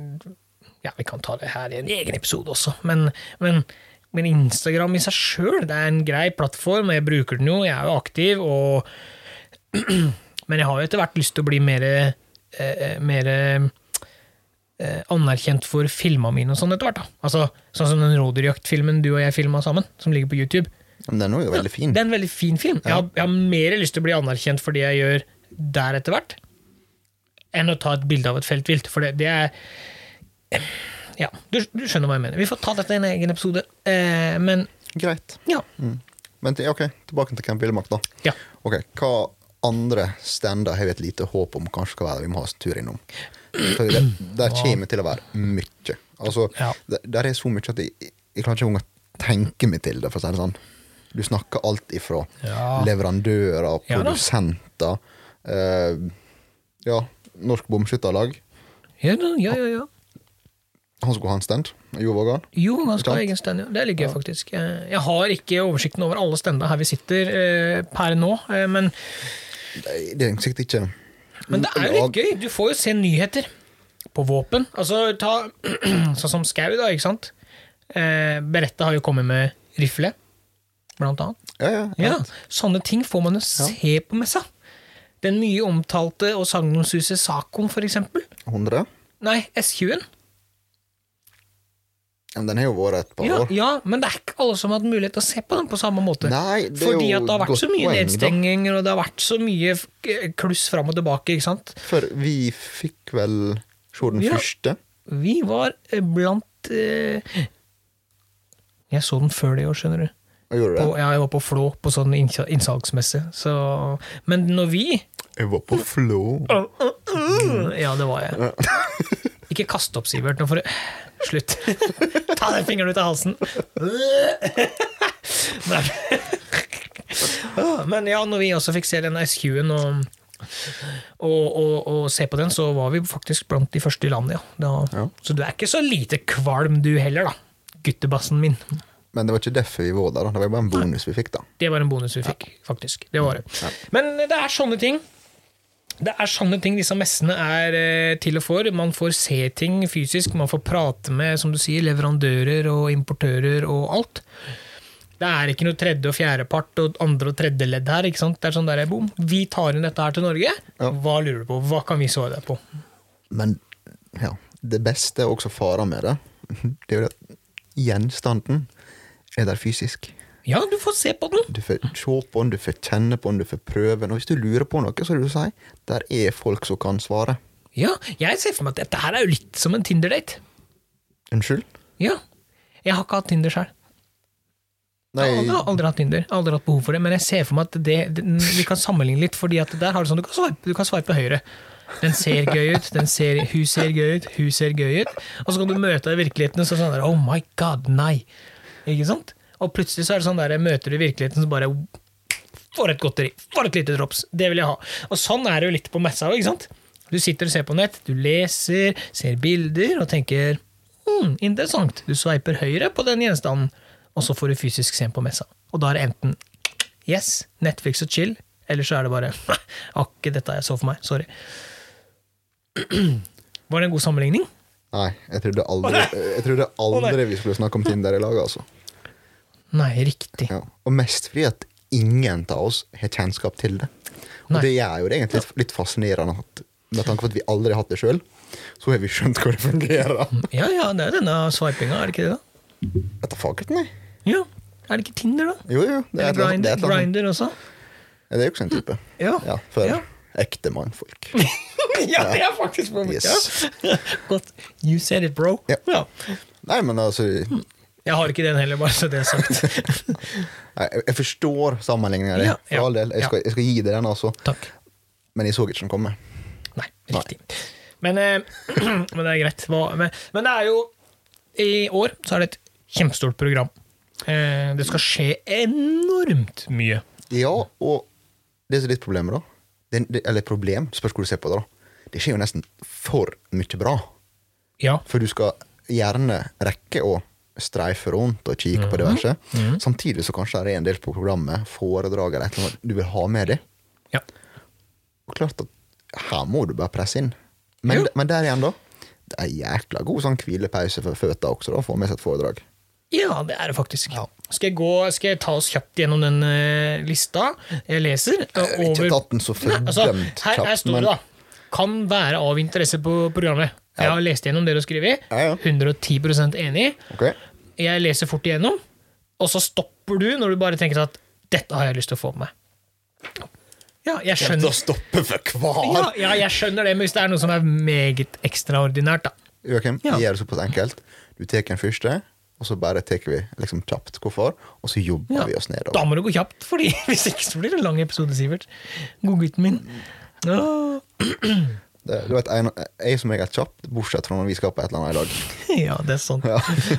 Speaker 1: Ja, vi kan ta det her i en egen episode også, men, men Men Instagram i seg sjøl, det er en grei plattform, og jeg bruker den jo, jeg er jo aktiv, og Men jeg har jo etter hvert lyst til å bli mer eh, eh, mer, eh, anerkjent for filma mine og sånn etter hvert. da. Altså, Sånn som den rådyrjaktfilmen du og jeg filma sammen, som ligger på YouTube.
Speaker 2: Men den er jo veldig fin.
Speaker 1: Det er en veldig fin film. Jeg, har, jeg har mer lyst til å bli anerkjent for det jeg gjør der etter hvert, enn å ta et bilde av et feltvilt. For det, det er Ja, du, du skjønner hva jeg mener. Vi får ta dette i en egen episode. Eh, men
Speaker 2: Greit.
Speaker 1: ja.
Speaker 2: Men til, ok, tilbake til Camp Villmark, da.
Speaker 1: ja.
Speaker 2: Ok, Hva andre stander har vi et lite håp om kanskje skal være vi må ha oss en tur innom? For det, der kommer det til å være mye. Altså,
Speaker 1: Ja.
Speaker 2: det, Der er så mye at jeg, jeg klarer ikke engang å tenke meg til det. for å si det sånn. Du snakker alt ifra
Speaker 1: Ja.
Speaker 2: leverandører,
Speaker 1: Ja da.
Speaker 2: produsenter eh, Ja, Norsk Bomskytterlag.
Speaker 1: Ja, da, ja, ja, ja.
Speaker 2: Han skulle ha en stand. Jo Vågan.
Speaker 1: Jo, han skal ha
Speaker 2: Sant?
Speaker 1: egen stand. Ja. Det er litt gøy, faktisk. Eh, Jeg har ikke oversikten over alle standa her vi sitter eh, per nå, eh, men,
Speaker 2: Det det er sikkert ikke
Speaker 1: men det er jo litt gøy. Du får jo se nyheter på våpen. Altså, ta sånn som Skau, da, ikke sant? Eh, Beretta har jo kommet med rifle, blant annet.
Speaker 2: Ja, ja. ja.
Speaker 1: Ja, sånne ting får man jo se på messa. Den mye omtalte og sagnomsuste Sakon, for eksempel.
Speaker 2: 100.
Speaker 1: Nei, S20-en.
Speaker 2: Ja, Men den har jo vært et par
Speaker 1: Ja,
Speaker 2: år.
Speaker 1: ja, men det er ikke alle som har hatt mulighet til å se på den på samme måte.
Speaker 2: Nei, det er
Speaker 1: Fordi
Speaker 2: jo
Speaker 1: at det har vært
Speaker 2: godt
Speaker 1: så mye
Speaker 2: poeng, da.
Speaker 1: nedstenginger, og det har vært så mye f- k- kluss fram og tilbake, ikke sant.
Speaker 2: For vi fikk vel se den
Speaker 1: Ja.
Speaker 2: første.
Speaker 1: Vi var eh, blant eh, Jeg så den før det i år, skjønner du.
Speaker 2: Og gjorde
Speaker 1: På,
Speaker 2: det.
Speaker 1: ja, jeg var på Flå på sånn innsal- innsalgsmesse. Så, men når vi
Speaker 2: Jeg var på Flå.
Speaker 1: Ja, det var jeg. Ikke kast opp, Sivert. Nå får du Slutt. Ta den fingeren ut av halsen. Nei. Men ja, når vi også fikk se den SQ-en og, og, og, og se på den, så var vi faktisk blant de første i landet, ja. Da,
Speaker 2: Ja.
Speaker 1: Så du er ikke så lite kvalm du heller, da. Guttebassen min.
Speaker 2: Men det var ikke derfor vi var der. da. Det var bare en bonus vi fikk, da.
Speaker 1: Det var en bonus vi fikk, faktisk. Det var det. Men eh, det er sånne ting. Det er sånne ting disse messene er eh, til og for. Man får se ting fysisk, man får prate med som du sier, leverandører og importører og alt. Det er ikke noe tredje- og fjerdepart og andre- og tredjeledd her. ikke sant? Det er sånn der, bom. Vi tar inn dette her til Norge. Hva lurer du på? Hva kan vi svare deg på?
Speaker 2: Men ja, det beste er også faren med det. Det er jo det at gjenstanden er der fysisk.
Speaker 1: Ja, du får se på den!
Speaker 2: Du får se på den, du får kjenne på den, du får prøve den. Og hvis du lurer på noe, så vil du si der er folk som kan svare.
Speaker 1: Ja, Jeg ser for meg at dette her er jo litt som en Tinder-date.
Speaker 2: Unnskyld?
Speaker 1: Ja. Jeg har ikke hatt Tinder sjøl.
Speaker 2: Nei,
Speaker 1: Jeg har aldri, aldri hatt Tinder, aldri hatt behov for det, men jeg ser for meg at det, det, vi kan sammenligne litt, fordi at der har du sånn, du kan swipe, du kan swipe høyre. Den ser gøy ut, den ser, hun ser gøy ut, hun ser gøy ut, og så kan du møte deg i virkeligheten, og så er det sånn der, oh my god, nei. Ikke sant? Og plutselig så er det sånn der, jeg møter du i virkeligheten, så bare, for et godteri, for et lite drops, det vil jeg ha. Og sånn er det jo litt på messa, også, ikke sant? Du sitter og ser på nett, du leser, ser bilder, og tenker, hmm, interessant, du sveiper høyre på den gjenstanden, og så får du fysisk se den på messa. Og da er det enten yes, Netflix og chill, eller så er det bare akke, dette jeg så for meg, sorry. Var det en god sammenligning?
Speaker 2: nei, jeg trodde aldri, jeg trodde aldri vi skulle snakke om Tinder i lag, altså.
Speaker 1: Nei, riktig.
Speaker 2: Ja. Og mest fordi at ingen av oss har kjennskap til det. Og
Speaker 1: Nei.
Speaker 2: det gjør jo det egentlig litt, litt fascinerende at med tanke på at vi aldri har hatt det sjøl, så har vi skjønt hvordan det fungerer.
Speaker 1: Ja ja, det er denne swipinga, er det ikke det, da?
Speaker 2: Etter fakerten, nei.
Speaker 1: Ja. Er det ikke Tinder, da?
Speaker 2: Jo, jo. Det
Speaker 1: Eller
Speaker 2: er et eller annet- det
Speaker 1: Grinder,
Speaker 2: er et eller annet-
Speaker 1: Grinder også?
Speaker 2: Ja, det er jo også en type.
Speaker 1: Ja.
Speaker 2: Ja, for
Speaker 1: Ja.
Speaker 2: ekte mannfolk.
Speaker 1: ja, det er faktisk på mitt,
Speaker 2: Yes.
Speaker 1: ja. Godt. You said it, bro.
Speaker 2: Ja.
Speaker 1: Ja.
Speaker 2: Nei, men altså
Speaker 1: Jeg har ikke den heller, bare så det er sagt.
Speaker 2: nei, Jeg jeg forstår sammenligninga di,
Speaker 1: Ja, ja,
Speaker 2: for all del. Jeg skal, jeg skal gi deg den, altså.
Speaker 1: Takk.
Speaker 2: Men jeg så ikke den komme.
Speaker 1: Nei, riktig. Men, eh, men det er greit. Hva, men, men det er jo I år så er det et kjempestort program. Eh, det skal skje enormt mye.
Speaker 2: Ja, og det som er litt problemet, da det, det, Eller problem, spørs hvor du ser på det, da. Det skjer jo nesten for mye bra.
Speaker 1: Ja.
Speaker 2: For du skal gjerne rekke å streife rundt og kikke
Speaker 1: Mhm.
Speaker 2: på diverse. Samtidig så kanskje det er en del på programmet, foredrag eller et eller annet du vil ha med deg.
Speaker 1: ja.
Speaker 2: Og klart at her må du bare presse inn. Men,
Speaker 1: Jo.
Speaker 2: men der igjen, da. Det er jækla god sånn hvilepause for føtta også, da, å få med seg et foredrag.
Speaker 1: Ja, det er det faktisk.
Speaker 2: Ja.
Speaker 1: Skal, jeg gå, skal jeg ta oss kjapt gjennom den eh, lista jeg leser? og
Speaker 2: Jeg har Eh, ikke
Speaker 1: over-
Speaker 2: tatt den så
Speaker 1: Nei, altså,
Speaker 2: fordømt
Speaker 1: her, her
Speaker 2: kjapt,
Speaker 1: står
Speaker 2: men-
Speaker 1: det, da. Kan være av interesse på programmet. Jeg har lest gjennom det du har skrevet.
Speaker 2: Ja, ja.
Speaker 1: 110 enig.
Speaker 2: Ok?
Speaker 1: Jeg leser fort igjennom, og så stopper du når du bare tenker at 'dette har jeg lyst til å få med meg'. Ja, jeg skjønner,
Speaker 2: stoppe for
Speaker 1: ja,
Speaker 2: hver!
Speaker 1: ja, jeg skjønner det, men hvis det er noe som er meget ekstraordinært, da.
Speaker 2: Joakim,
Speaker 1: Ja.
Speaker 2: vi gjør det såpass enkelt. Du tar en første, og så bare tar vi liksom kjapt hvorfor, og så jobber
Speaker 1: Ja,
Speaker 2: vi oss nedover.
Speaker 1: Da må det gå kjapt, fordi hvis ikke så blir det en lang episode, Sivert. Godgutten min.
Speaker 2: Mm.
Speaker 1: Åh,
Speaker 2: Det, du vet, en, jeg som jeg er kjapp, bortsett fra når vi skal på et eller annet i dag.
Speaker 1: ja, det er sånn.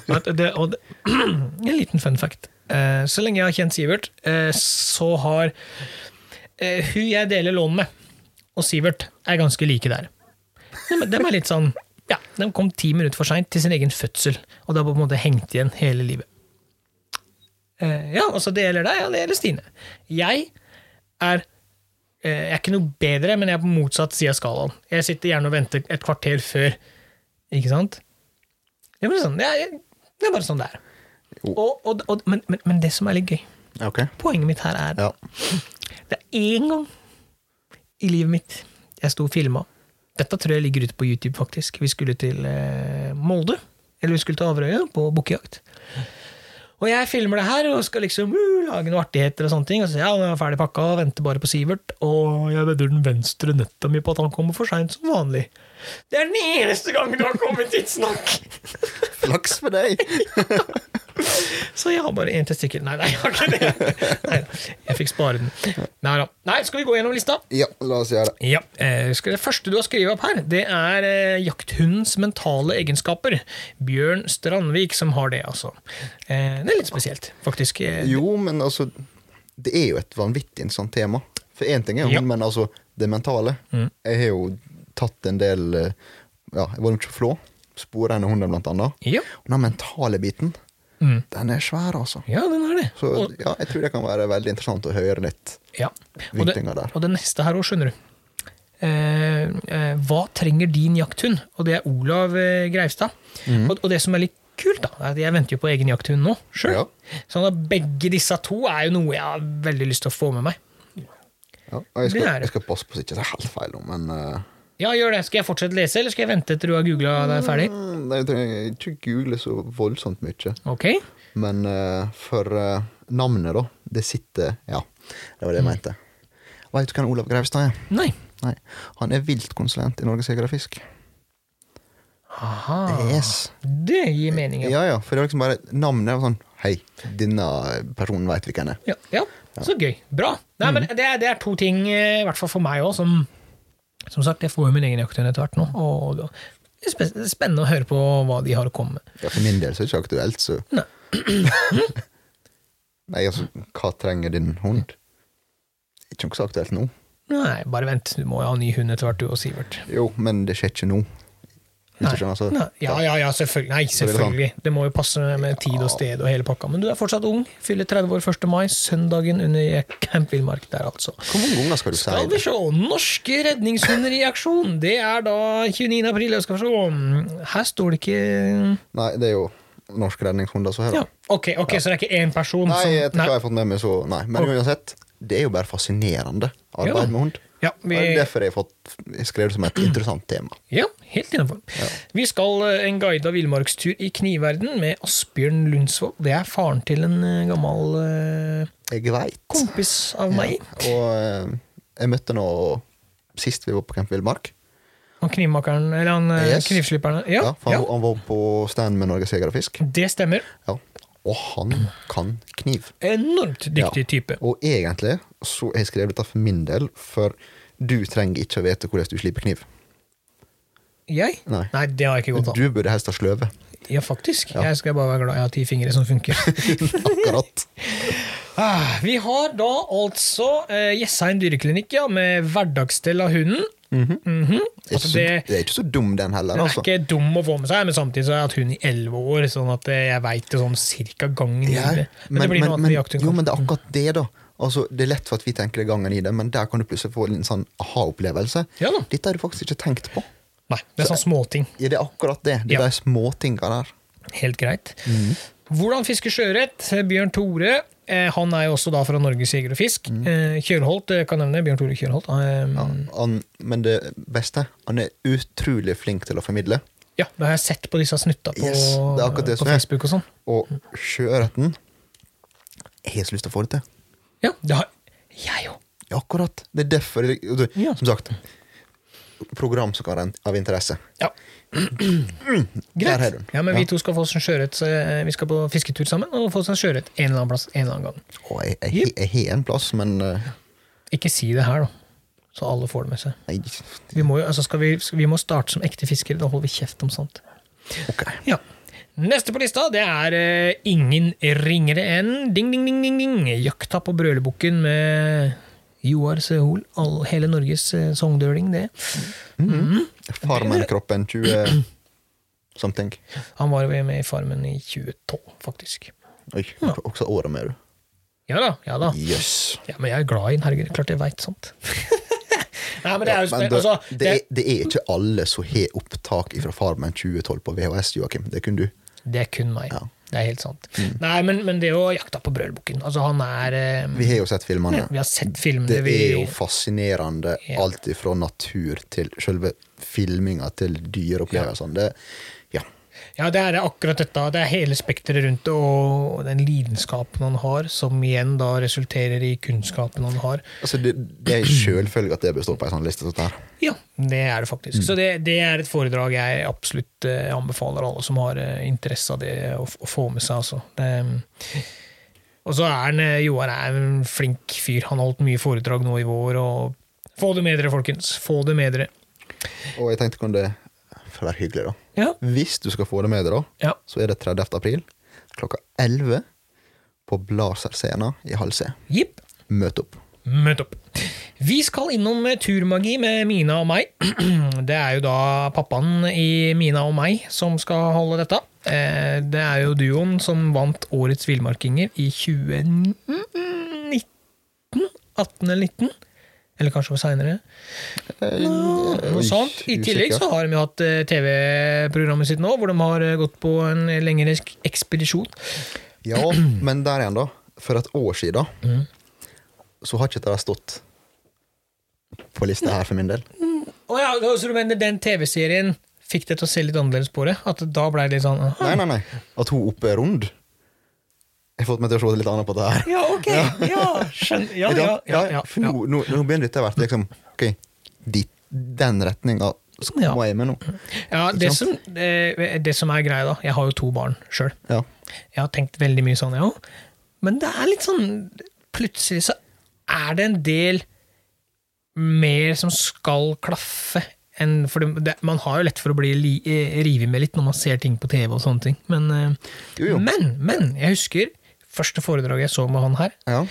Speaker 1: Men det, og det, en liten fun fact. Eh, så lenge jeg har kjent Sivert, eh, så har eh, hun jeg deler lån med, og Sivert, er ganske like der. De, de er litt sånn ja, De kom ti minutter for seint til sin egen fødsel, og det har på en måte hengt igjen hele livet. Eh, ja, altså det gjelder deg, ja, det gjelder Stine. Jeg er eh, Jeg er ikke noe bedre, men jeg er på motsatt side av skalaen. Jeg sitter gjerne og venter et kvarter før. Ikke sant? Det er bare sånn det er, det er, bare sånn det er.
Speaker 2: Jo.
Speaker 1: Og, og, og, men, men, men det som er litt gøy
Speaker 2: Ok?
Speaker 1: Poenget mitt her er
Speaker 2: Ja.
Speaker 1: det er én gang i livet mitt jeg sto og filma. Dette tror jeg ligger ute på YouTube, faktisk. Vi skulle til eh, Molde. Eller vi skulle til Averøya på bukkejakt. Og jeg filmer det her og skal liksom uh, lage noen artigheter og sånne ting. Og så ja, nå er jeg ferdig pakka og venter bare på Sivert. Og jeg vedder den venstre nøtta mi på at han kommer for seint som vanlig. Det er den eneste gangen du har kommet hit, snakk!
Speaker 2: Flaks for deg!
Speaker 1: Så jeg har bare én testikkel. Nei, nei, jeg har ikke det. Nei, jeg fikk spare den. Nei da. Nei, skal vi gå gjennom lista?
Speaker 2: Ja, la oss gjøre det.
Speaker 1: Ja, eh, skal Det første du har skrevet opp her, det er eh, jakthundens mentale egenskaper. Bjørn Strandvik som har det, altså. Eh, det er litt spesielt, faktisk. Eh,
Speaker 2: Jo, men altså Det er jo et vanvittig interessant tema. For én ting er jo
Speaker 1: Ja. Mm.
Speaker 2: men altså, det mentale. Jeg har jo tatt en del eh, Ja, jeg var jo ikke flå. Sporene hunder, blant annet.
Speaker 1: Ja.
Speaker 2: Og den mentale biten,
Speaker 1: Mm.
Speaker 2: den er svær, altså.
Speaker 1: ja, den har det.
Speaker 2: Så
Speaker 1: Og,
Speaker 2: ja, jeg tror det kan være veldig interessant å høre litt.
Speaker 1: ja. og, det,
Speaker 2: vinklinga der.
Speaker 1: og det neste her òg, skjønner du. Eh, eh, hva trenger din jakthund? Og det er Olav eh, Greivstad.
Speaker 2: Mhm.
Speaker 1: Og, og det som er litt kult, da, er at jeg venter jo på egen jakthund nå sjøl.
Speaker 2: Ja.
Speaker 1: Sånn at begge disse to er jo noe jeg har veldig lyst til å få med meg.
Speaker 2: Ja, og
Speaker 1: Det
Speaker 2: jeg skal,
Speaker 1: er det.
Speaker 2: jeg skal passe på så ikke det er helt feil, nå, men eh,
Speaker 1: Ja, gjør det. Skal jeg fortsette å lese, eller skal jeg vente til du har googla deg ferdig?
Speaker 2: mm, Jeg trenger ikke google så voldsomt mye.
Speaker 1: Ok.
Speaker 2: Men eh, for eh, navnet, da, det sitter Ja, det var det jeg
Speaker 1: Mm.
Speaker 2: mente. Veit du hvem Olav Greivstad er?
Speaker 1: Nei.
Speaker 2: Nei. Han er viltkonsulent i Norges Jeger og Fisk.
Speaker 1: Aha.
Speaker 2: Yes.
Speaker 1: Det gir mening. Ah, Ja.
Speaker 2: Ja, ja, for det var liksom bare navnet var sånn Hei, denne personen veit vi hvem er.
Speaker 1: Ja, ja. Så gøy. Bra. Nei, men
Speaker 2: Mm.
Speaker 1: det, er, det er to ting, eh, i hvert fall for meg òg, som Som sagt, jeg får jo min egen jakthund etter hvert nå. Og og det er spe- det er spennende å høre på hva de har å komme med.
Speaker 2: Ja, for min del så er det ikke aktuelt, så
Speaker 1: Nei.
Speaker 2: Nei, altså, hva trenger din hund? Ikke noe så aktuelt nå.
Speaker 1: Nei, bare vent. Du må jo ha ny hund etter hvert, du og Sivert.
Speaker 2: Jo, men det skjer ikke nå. Hvis
Speaker 1: Nei.
Speaker 2: du skjønner, altså.
Speaker 1: Nei. Ja, ja, ja, selvfølgelig. Nei,
Speaker 2: er det sånn.
Speaker 1: selvfølgelig. Det må jo passe med tid og sted og hele pakka. Men du er fortsatt ung. Fyller 30 år 1. mai. Søndagen under Camp Villmark der, altså.
Speaker 2: Hvor mange ganger skal du si
Speaker 1: Skal vi
Speaker 2: det?
Speaker 1: se. Norske redningshunder i aksjon. Det er da 29. april. Jeg skal vi se. Her står det ikke
Speaker 2: Nei, det er jo norske redningshunder som hører.
Speaker 1: ja. Ok, ok, så det er ikke én person
Speaker 2: Nei, etter
Speaker 1: som
Speaker 2: hva jeg har fått med meg, så nei. Men
Speaker 1: Ok.
Speaker 2: uansett, det er jo bare fascinerende arbeid
Speaker 1: Ja.
Speaker 2: med hund.
Speaker 1: Ja,
Speaker 2: Og
Speaker 1: vi,
Speaker 2: Det er derfor jeg har fått jeg skrev det som et interessant tema.
Speaker 1: ja, helt innafor. Vi skal eh, en guida villmarkstur i knivverden med Asbjørn Lundsvold. Det er faren til en eh, gammel eh,
Speaker 2: Jeg veit.
Speaker 1: kompis av meg.
Speaker 2: Og eh, jeg møtte nå sist vi var på Camp Villmark.
Speaker 1: Og knivmakeren, eller han eh,
Speaker 2: Yes.
Speaker 1: knivslipperen.
Speaker 2: Ja, Mm.
Speaker 1: Ja,
Speaker 2: for han,
Speaker 1: ja,
Speaker 2: han var på stand med Norges Jeger og Fisk.
Speaker 1: det stemmer.
Speaker 2: Ja. Og han kan kniv.
Speaker 1: Enormt dyktig type.
Speaker 2: Og egentlig så har jeg skrevet dette for min del, for du trenger ikke å vite hvordan du sliper kniv.
Speaker 1: Jeg?
Speaker 2: Nei.
Speaker 1: Nei, det har jeg ikke godt av.
Speaker 2: Du burde helst ha sløve.
Speaker 1: Ja, faktisk. Jeg skal bare være glad jeg har ti fingre som funker.
Speaker 2: Akkurat.
Speaker 1: Ah, Vi har da altså eh, Jessheim dyreklinikk ja, med hverdagsstell av hunden. Mhm.
Speaker 2: Det er, ikke
Speaker 1: altså,
Speaker 2: så,
Speaker 1: det,
Speaker 2: det er ikke så dum, den heller.
Speaker 1: den er
Speaker 2: Altså.
Speaker 1: ikke dum å få med seg, men samtidig så har jeg hatt hund i elleve år, sånn at eh, jeg veit det sånn cirka gangen. i
Speaker 2: Ja,
Speaker 1: det. Men, det blir noe annet med jakthund.
Speaker 2: jo,
Speaker 1: kanskje.
Speaker 2: men det er akkurat det, da. Altså, det er lett for at vi tenker det gangen i det, men der kan du plutselig få en sånn aha-opplevelse.
Speaker 1: Ja da.
Speaker 2: Dette har du faktisk ikke tenkt på.
Speaker 1: Nei, det er sånn småting.
Speaker 2: Ja, det er akkurat det. Det er
Speaker 1: Ja.
Speaker 2: de småtinga der.
Speaker 1: Helt greit. Hvordan fiske sjøørret? Bjørn Tore. eh, Han er jo også da fra Norges Jeger og Fisk.
Speaker 2: Mhm.
Speaker 1: Eh, Kjørholt eh, kan nevne. Bjørn Tore Kjørholt. eh,
Speaker 2: Han, men det beste, han er utrolig flink til å formidle.
Speaker 1: Ja, det har jeg sett på disse snutta på,
Speaker 2: Yes, det er akkurat det
Speaker 1: på
Speaker 2: som er.
Speaker 1: Facebook og sånn.
Speaker 2: Og sjøørreten Jeg har så lyst til å få det til.
Speaker 1: Ja, det har jeg jo.
Speaker 2: Ja, akkurat. Det er derfor jeg- du,
Speaker 1: Ja.
Speaker 2: Som sagt, program som kan være av interesse.
Speaker 1: Ja.
Speaker 2: Der har
Speaker 1: Greit.
Speaker 2: du den.
Speaker 1: Ja, men
Speaker 2: Ja.
Speaker 1: vi to skal få oss en sjøørret. så, eh, Vi skal på fisketur sammen og få oss en sjøørret en eller annen plass en eller annen gang.
Speaker 2: Og jeg, jeg, jeg, har en plass, men eh,
Speaker 1: Ikke si det her, da. Så alle får det med seg.
Speaker 2: Nei,
Speaker 1: Vi må, jo, altså skal vi, skal, vi må starte som ekte fiskere. Da holder vi kjeft om sånt.
Speaker 2: ok.
Speaker 1: Ja. Neste på lista det er eh, ingen ringere enn ding, ding, ding, ding, ding. Jakta på Brølebukken med Joar Sehol. All, hele Norges eh, sogndøling, det.
Speaker 2: Farmen-kroppen 20 something.
Speaker 1: Han var jo med i Farmen i 2012, faktisk.
Speaker 2: Oi, også året med, du.
Speaker 1: Ja da. ja da.
Speaker 2: Jøss. Yes.
Speaker 1: Ja, Men jeg er glad i den, herregud. Klart jeg veit sånt. Nei, men det er jo
Speaker 2: Men
Speaker 1: spen-
Speaker 2: det,
Speaker 1: altså,
Speaker 2: det, er, det er ikke alle som har opptak fra Farmen 2012 på VHS, Joakim. Det kunne du.
Speaker 1: Det er kun meg.
Speaker 2: Ja. Mm.
Speaker 1: Det er helt sant. Nei, men, men det er jo jakta på brølbukken. Altså, han er eh,
Speaker 2: Vi har jo sett filmene.
Speaker 1: Vi har sett filmene.
Speaker 2: Det
Speaker 1: vi,
Speaker 2: er jo fascinerende,
Speaker 1: Ja.
Speaker 2: alt ifra natur til selve filminga til dyreopplevelsene. Det, ja.
Speaker 1: Ja, det er akkurat dette. Det er hele spekteret rundt det, og den lidenskapen han har, som igjen da resulterer i kunnskapen han har.
Speaker 2: Altså, det, det er en selvfølge at det består på ei sånn liste. som dette her.
Speaker 1: Ja, Mm. det er det faktisk. Så det, det er et foredrag jeg absolutt eh, anbefaler alle som har eh, interesse av det, å, f- å få med seg, altså. Det, eh, og så er han, eh, Joar er en flink fyr. Han har holdt mye foredrag nå i vår, og få det med dere, folkens. Få det med dere.
Speaker 2: Og jeg tenkte kan det for å være hyggelig, da.
Speaker 1: Ja.
Speaker 2: Hvis du skal få det med deg, da,
Speaker 1: ja.
Speaker 2: så er det 30. april klokka 11 på Blaser-scena i Hall C.
Speaker 1: Jipp.
Speaker 2: Møt opp.
Speaker 1: Møt opp. Vi skal innom eh, turmagi med Mina og meg. Det er jo da pappaen i Mina og meg som skal holde dette. Eh, Det er jo duoen som vant Årets villmarkinger i 2019? 18 eller 19? Eller kanskje det var seinere. Noe sånt. I tillegg så har de jo hatt eh, TV-programmet sitt nå, hvor de har eh, gått på en lengre eks- ekspedisjon.
Speaker 2: Ja, men der igjen, da. For et år siden så har ikke dette stått på lista her for min del.
Speaker 1: Å ja, så du mener den TV-serien fikk det til å se litt annerledes på det? At da ble det litt sånn aha.
Speaker 2: Nei, nei, nei. At hun oppe er rund. Jeg har fått meg til å se litt annet på det her.
Speaker 1: Ja, ok. Ja, skjønner. Ja,
Speaker 2: Ikke
Speaker 1: ja,
Speaker 2: sant?
Speaker 1: ja, ja,
Speaker 2: For nå, nå, nå begynner dette å være liksom, ok, dit, den retninga skal
Speaker 1: Ja.
Speaker 2: jeg med nå.
Speaker 1: ja det, som, eh, det som er greia, da Jeg har jo to barn sjøl.
Speaker 2: Ja.
Speaker 1: Jeg har tenkt veldig mye sånn, jeg ja. òg. Men det er litt sånn Plutselig så er det en del mer som skal klaffe. Enn for det, det, man har jo lett for å bli li, eh, revet med litt når man ser ting på TV. og sånne ting Men, eh,
Speaker 2: Jo, jo.
Speaker 1: men, men jeg husker første foredraget jeg så med han her.
Speaker 2: ja.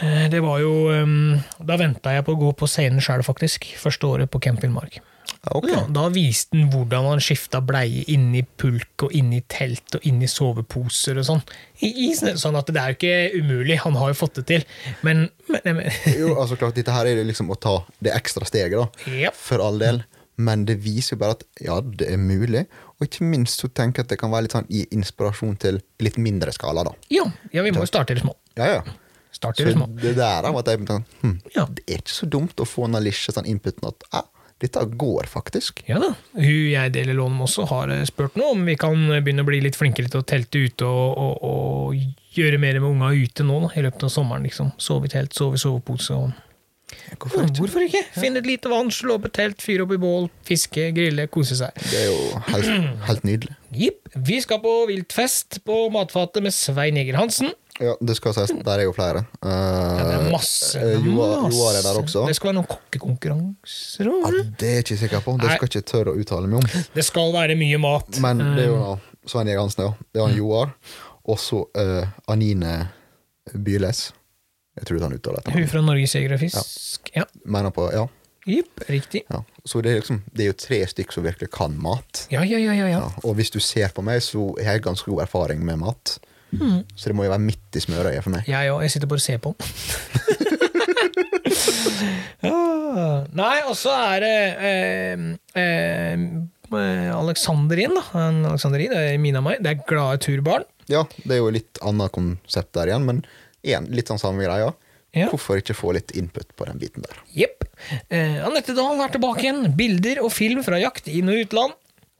Speaker 1: Eh, Det var jo ehm, Da venta jeg på å gå på scenen sjøl, faktisk. Første året på Camp Villmark.
Speaker 2: Ja, ok.
Speaker 1: Ja, da viste han hvordan han skifta bleie inni pulk og inni telt og inni soveposer og sånn. I, i, snø. sånn at det er jo ikke umulig, han har jo fått det til. Men, men, men
Speaker 2: Jo, altså klart, dette her er jo liksom å ta det ekstra steget, da.
Speaker 1: Ja.
Speaker 2: For all del. Men det viser jo bare at ja, det er mulig. Og ikke minst så tenker jeg at det kan være litt sånn i inspirasjon til litt mindre skala, da.
Speaker 1: ja, ja, vi må jo starte i det små.
Speaker 2: Ja, ja.
Speaker 1: Starte
Speaker 2: Så
Speaker 1: i det små.
Speaker 2: det der da, var at jeg tenkte, hm,
Speaker 1: Ja.
Speaker 2: det er ikke så dumt å få en Alicia sånn inputen at ja, dette går faktisk.
Speaker 1: Ja da. Hun jeg deler lån med også, har eh, spurt nå om vi kan begynne å bli litt flinkere til å telte ute og, og, og gjøre mer med unga ute nå da, i løpet av sommeren. liksom. Sove i telt, sove i sovepose. og...
Speaker 2: Hvorfor ikke?
Speaker 1: Hvorfor ikke? Finne et lite vann, slå opp et telt, fyre opp i bål, fiske, grille, kose seg.
Speaker 2: Det er jo helt, helt nydelig.
Speaker 1: Jipp. Vi skal på viltfest på Matfatet med Svein Jeger Hansen.
Speaker 2: Ja, det skal sies, der er jo flere. Eh,
Speaker 1: Ja, det er masse.
Speaker 2: eh, Joar Joar er der
Speaker 1: masse.
Speaker 2: også.
Speaker 1: Det skal være noen kokkekonkurranser
Speaker 2: Ja,
Speaker 1: òg.
Speaker 2: det er jeg ikke sikker på. Det skal jeg ikke tørre å uttale meg om.
Speaker 1: Det skal være mye mat.
Speaker 2: Men det
Speaker 1: Um.
Speaker 2: er jo da Svein Erik Hansen, ja. Det er
Speaker 1: Mm.
Speaker 2: han Joar. Og så eh, Anine Byles. Jeg tror han uttaler
Speaker 1: Hun
Speaker 2: dette.
Speaker 1: fra Norges Jeger og Fisk. Ja.
Speaker 2: Mener på, ja,
Speaker 1: Jipp. Riktig.
Speaker 2: ja. Så det er, liksom, det er jo tre stykker som virkelig kan mat.
Speaker 1: Ja, ja, ja, ja. ja.
Speaker 2: Ja, og hvis du ser på meg, så har jeg ganske god erfaring med mat.
Speaker 1: Mm.
Speaker 2: Så det må jo være midt i smørøyet for meg.
Speaker 1: Jeg òg. Jeg sitter bare og ser på den. Ah. ja. Nei, og så er det eh, eh, eh, Aleksanderin, da. En Aleksanderin, det er mine av meg. Det er glade turbarn.
Speaker 2: Ja, det er jo litt annet konsept der igjen, men igjen, litt sånn samme greia.
Speaker 1: Ja.
Speaker 2: Hvorfor ikke få litt input på den biten der?
Speaker 1: Jepp. Eh, Anette Dahl er tilbake igjen. Bilder og film fra jakt inn- og utland.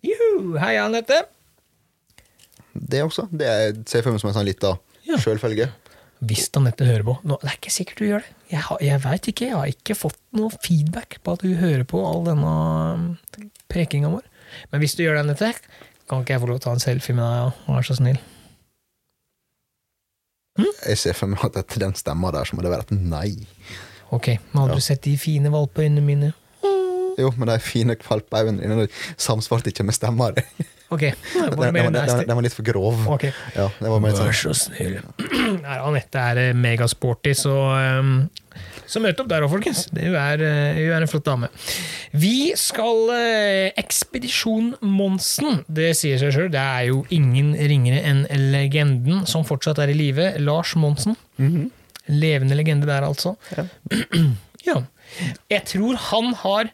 Speaker 1: Juhu! Hei, Anette.
Speaker 2: Det også. Det er- ser jeg for meg som en sånn lita
Speaker 1: Ja.
Speaker 2: sjølfølge.
Speaker 1: Hvis Anette hører på nå, Det er ikke sikkert du gjør det. Jeg, har- jeg veit ikke. Jeg har ikke fått noe feedback på at du hører på all denne um, prekinga vår. Men hvis du gjør det, Anette, kan ikke jeg få lov til å ta en selfie med deg? ja? Vær så snill.
Speaker 2: Jeg ser for meg at etter den stemma der, så må det være et nei.
Speaker 1: Ok, men hadde
Speaker 2: Ja.
Speaker 1: du sett de fine valpeøynene mine?
Speaker 2: Jo, men de fine kvalpeøynene dine de samsvarte ikke med stemma di.
Speaker 1: Ok, det
Speaker 2: Den
Speaker 1: var
Speaker 2: den
Speaker 1: mer
Speaker 2: var- den-
Speaker 1: nasty.
Speaker 2: den var litt for grov.
Speaker 1: Ok,
Speaker 2: Ja, det var mer
Speaker 1: vær
Speaker 2: sånn
Speaker 1: så snill. Nei, Anette er eh, megasporty, så, ehm, så møt opp der òg, folkens. Det- Hun er, eh, hun er en flott dame. Vi skal eh, Ekspedisjon Monsen. Det sier seg sjøl. Det er jo ingen ringere enn legenden som fortsatt er i live. Lars Monsen. Levende legende der, altså.
Speaker 2: Ja.
Speaker 1: ja. Jeg tror han har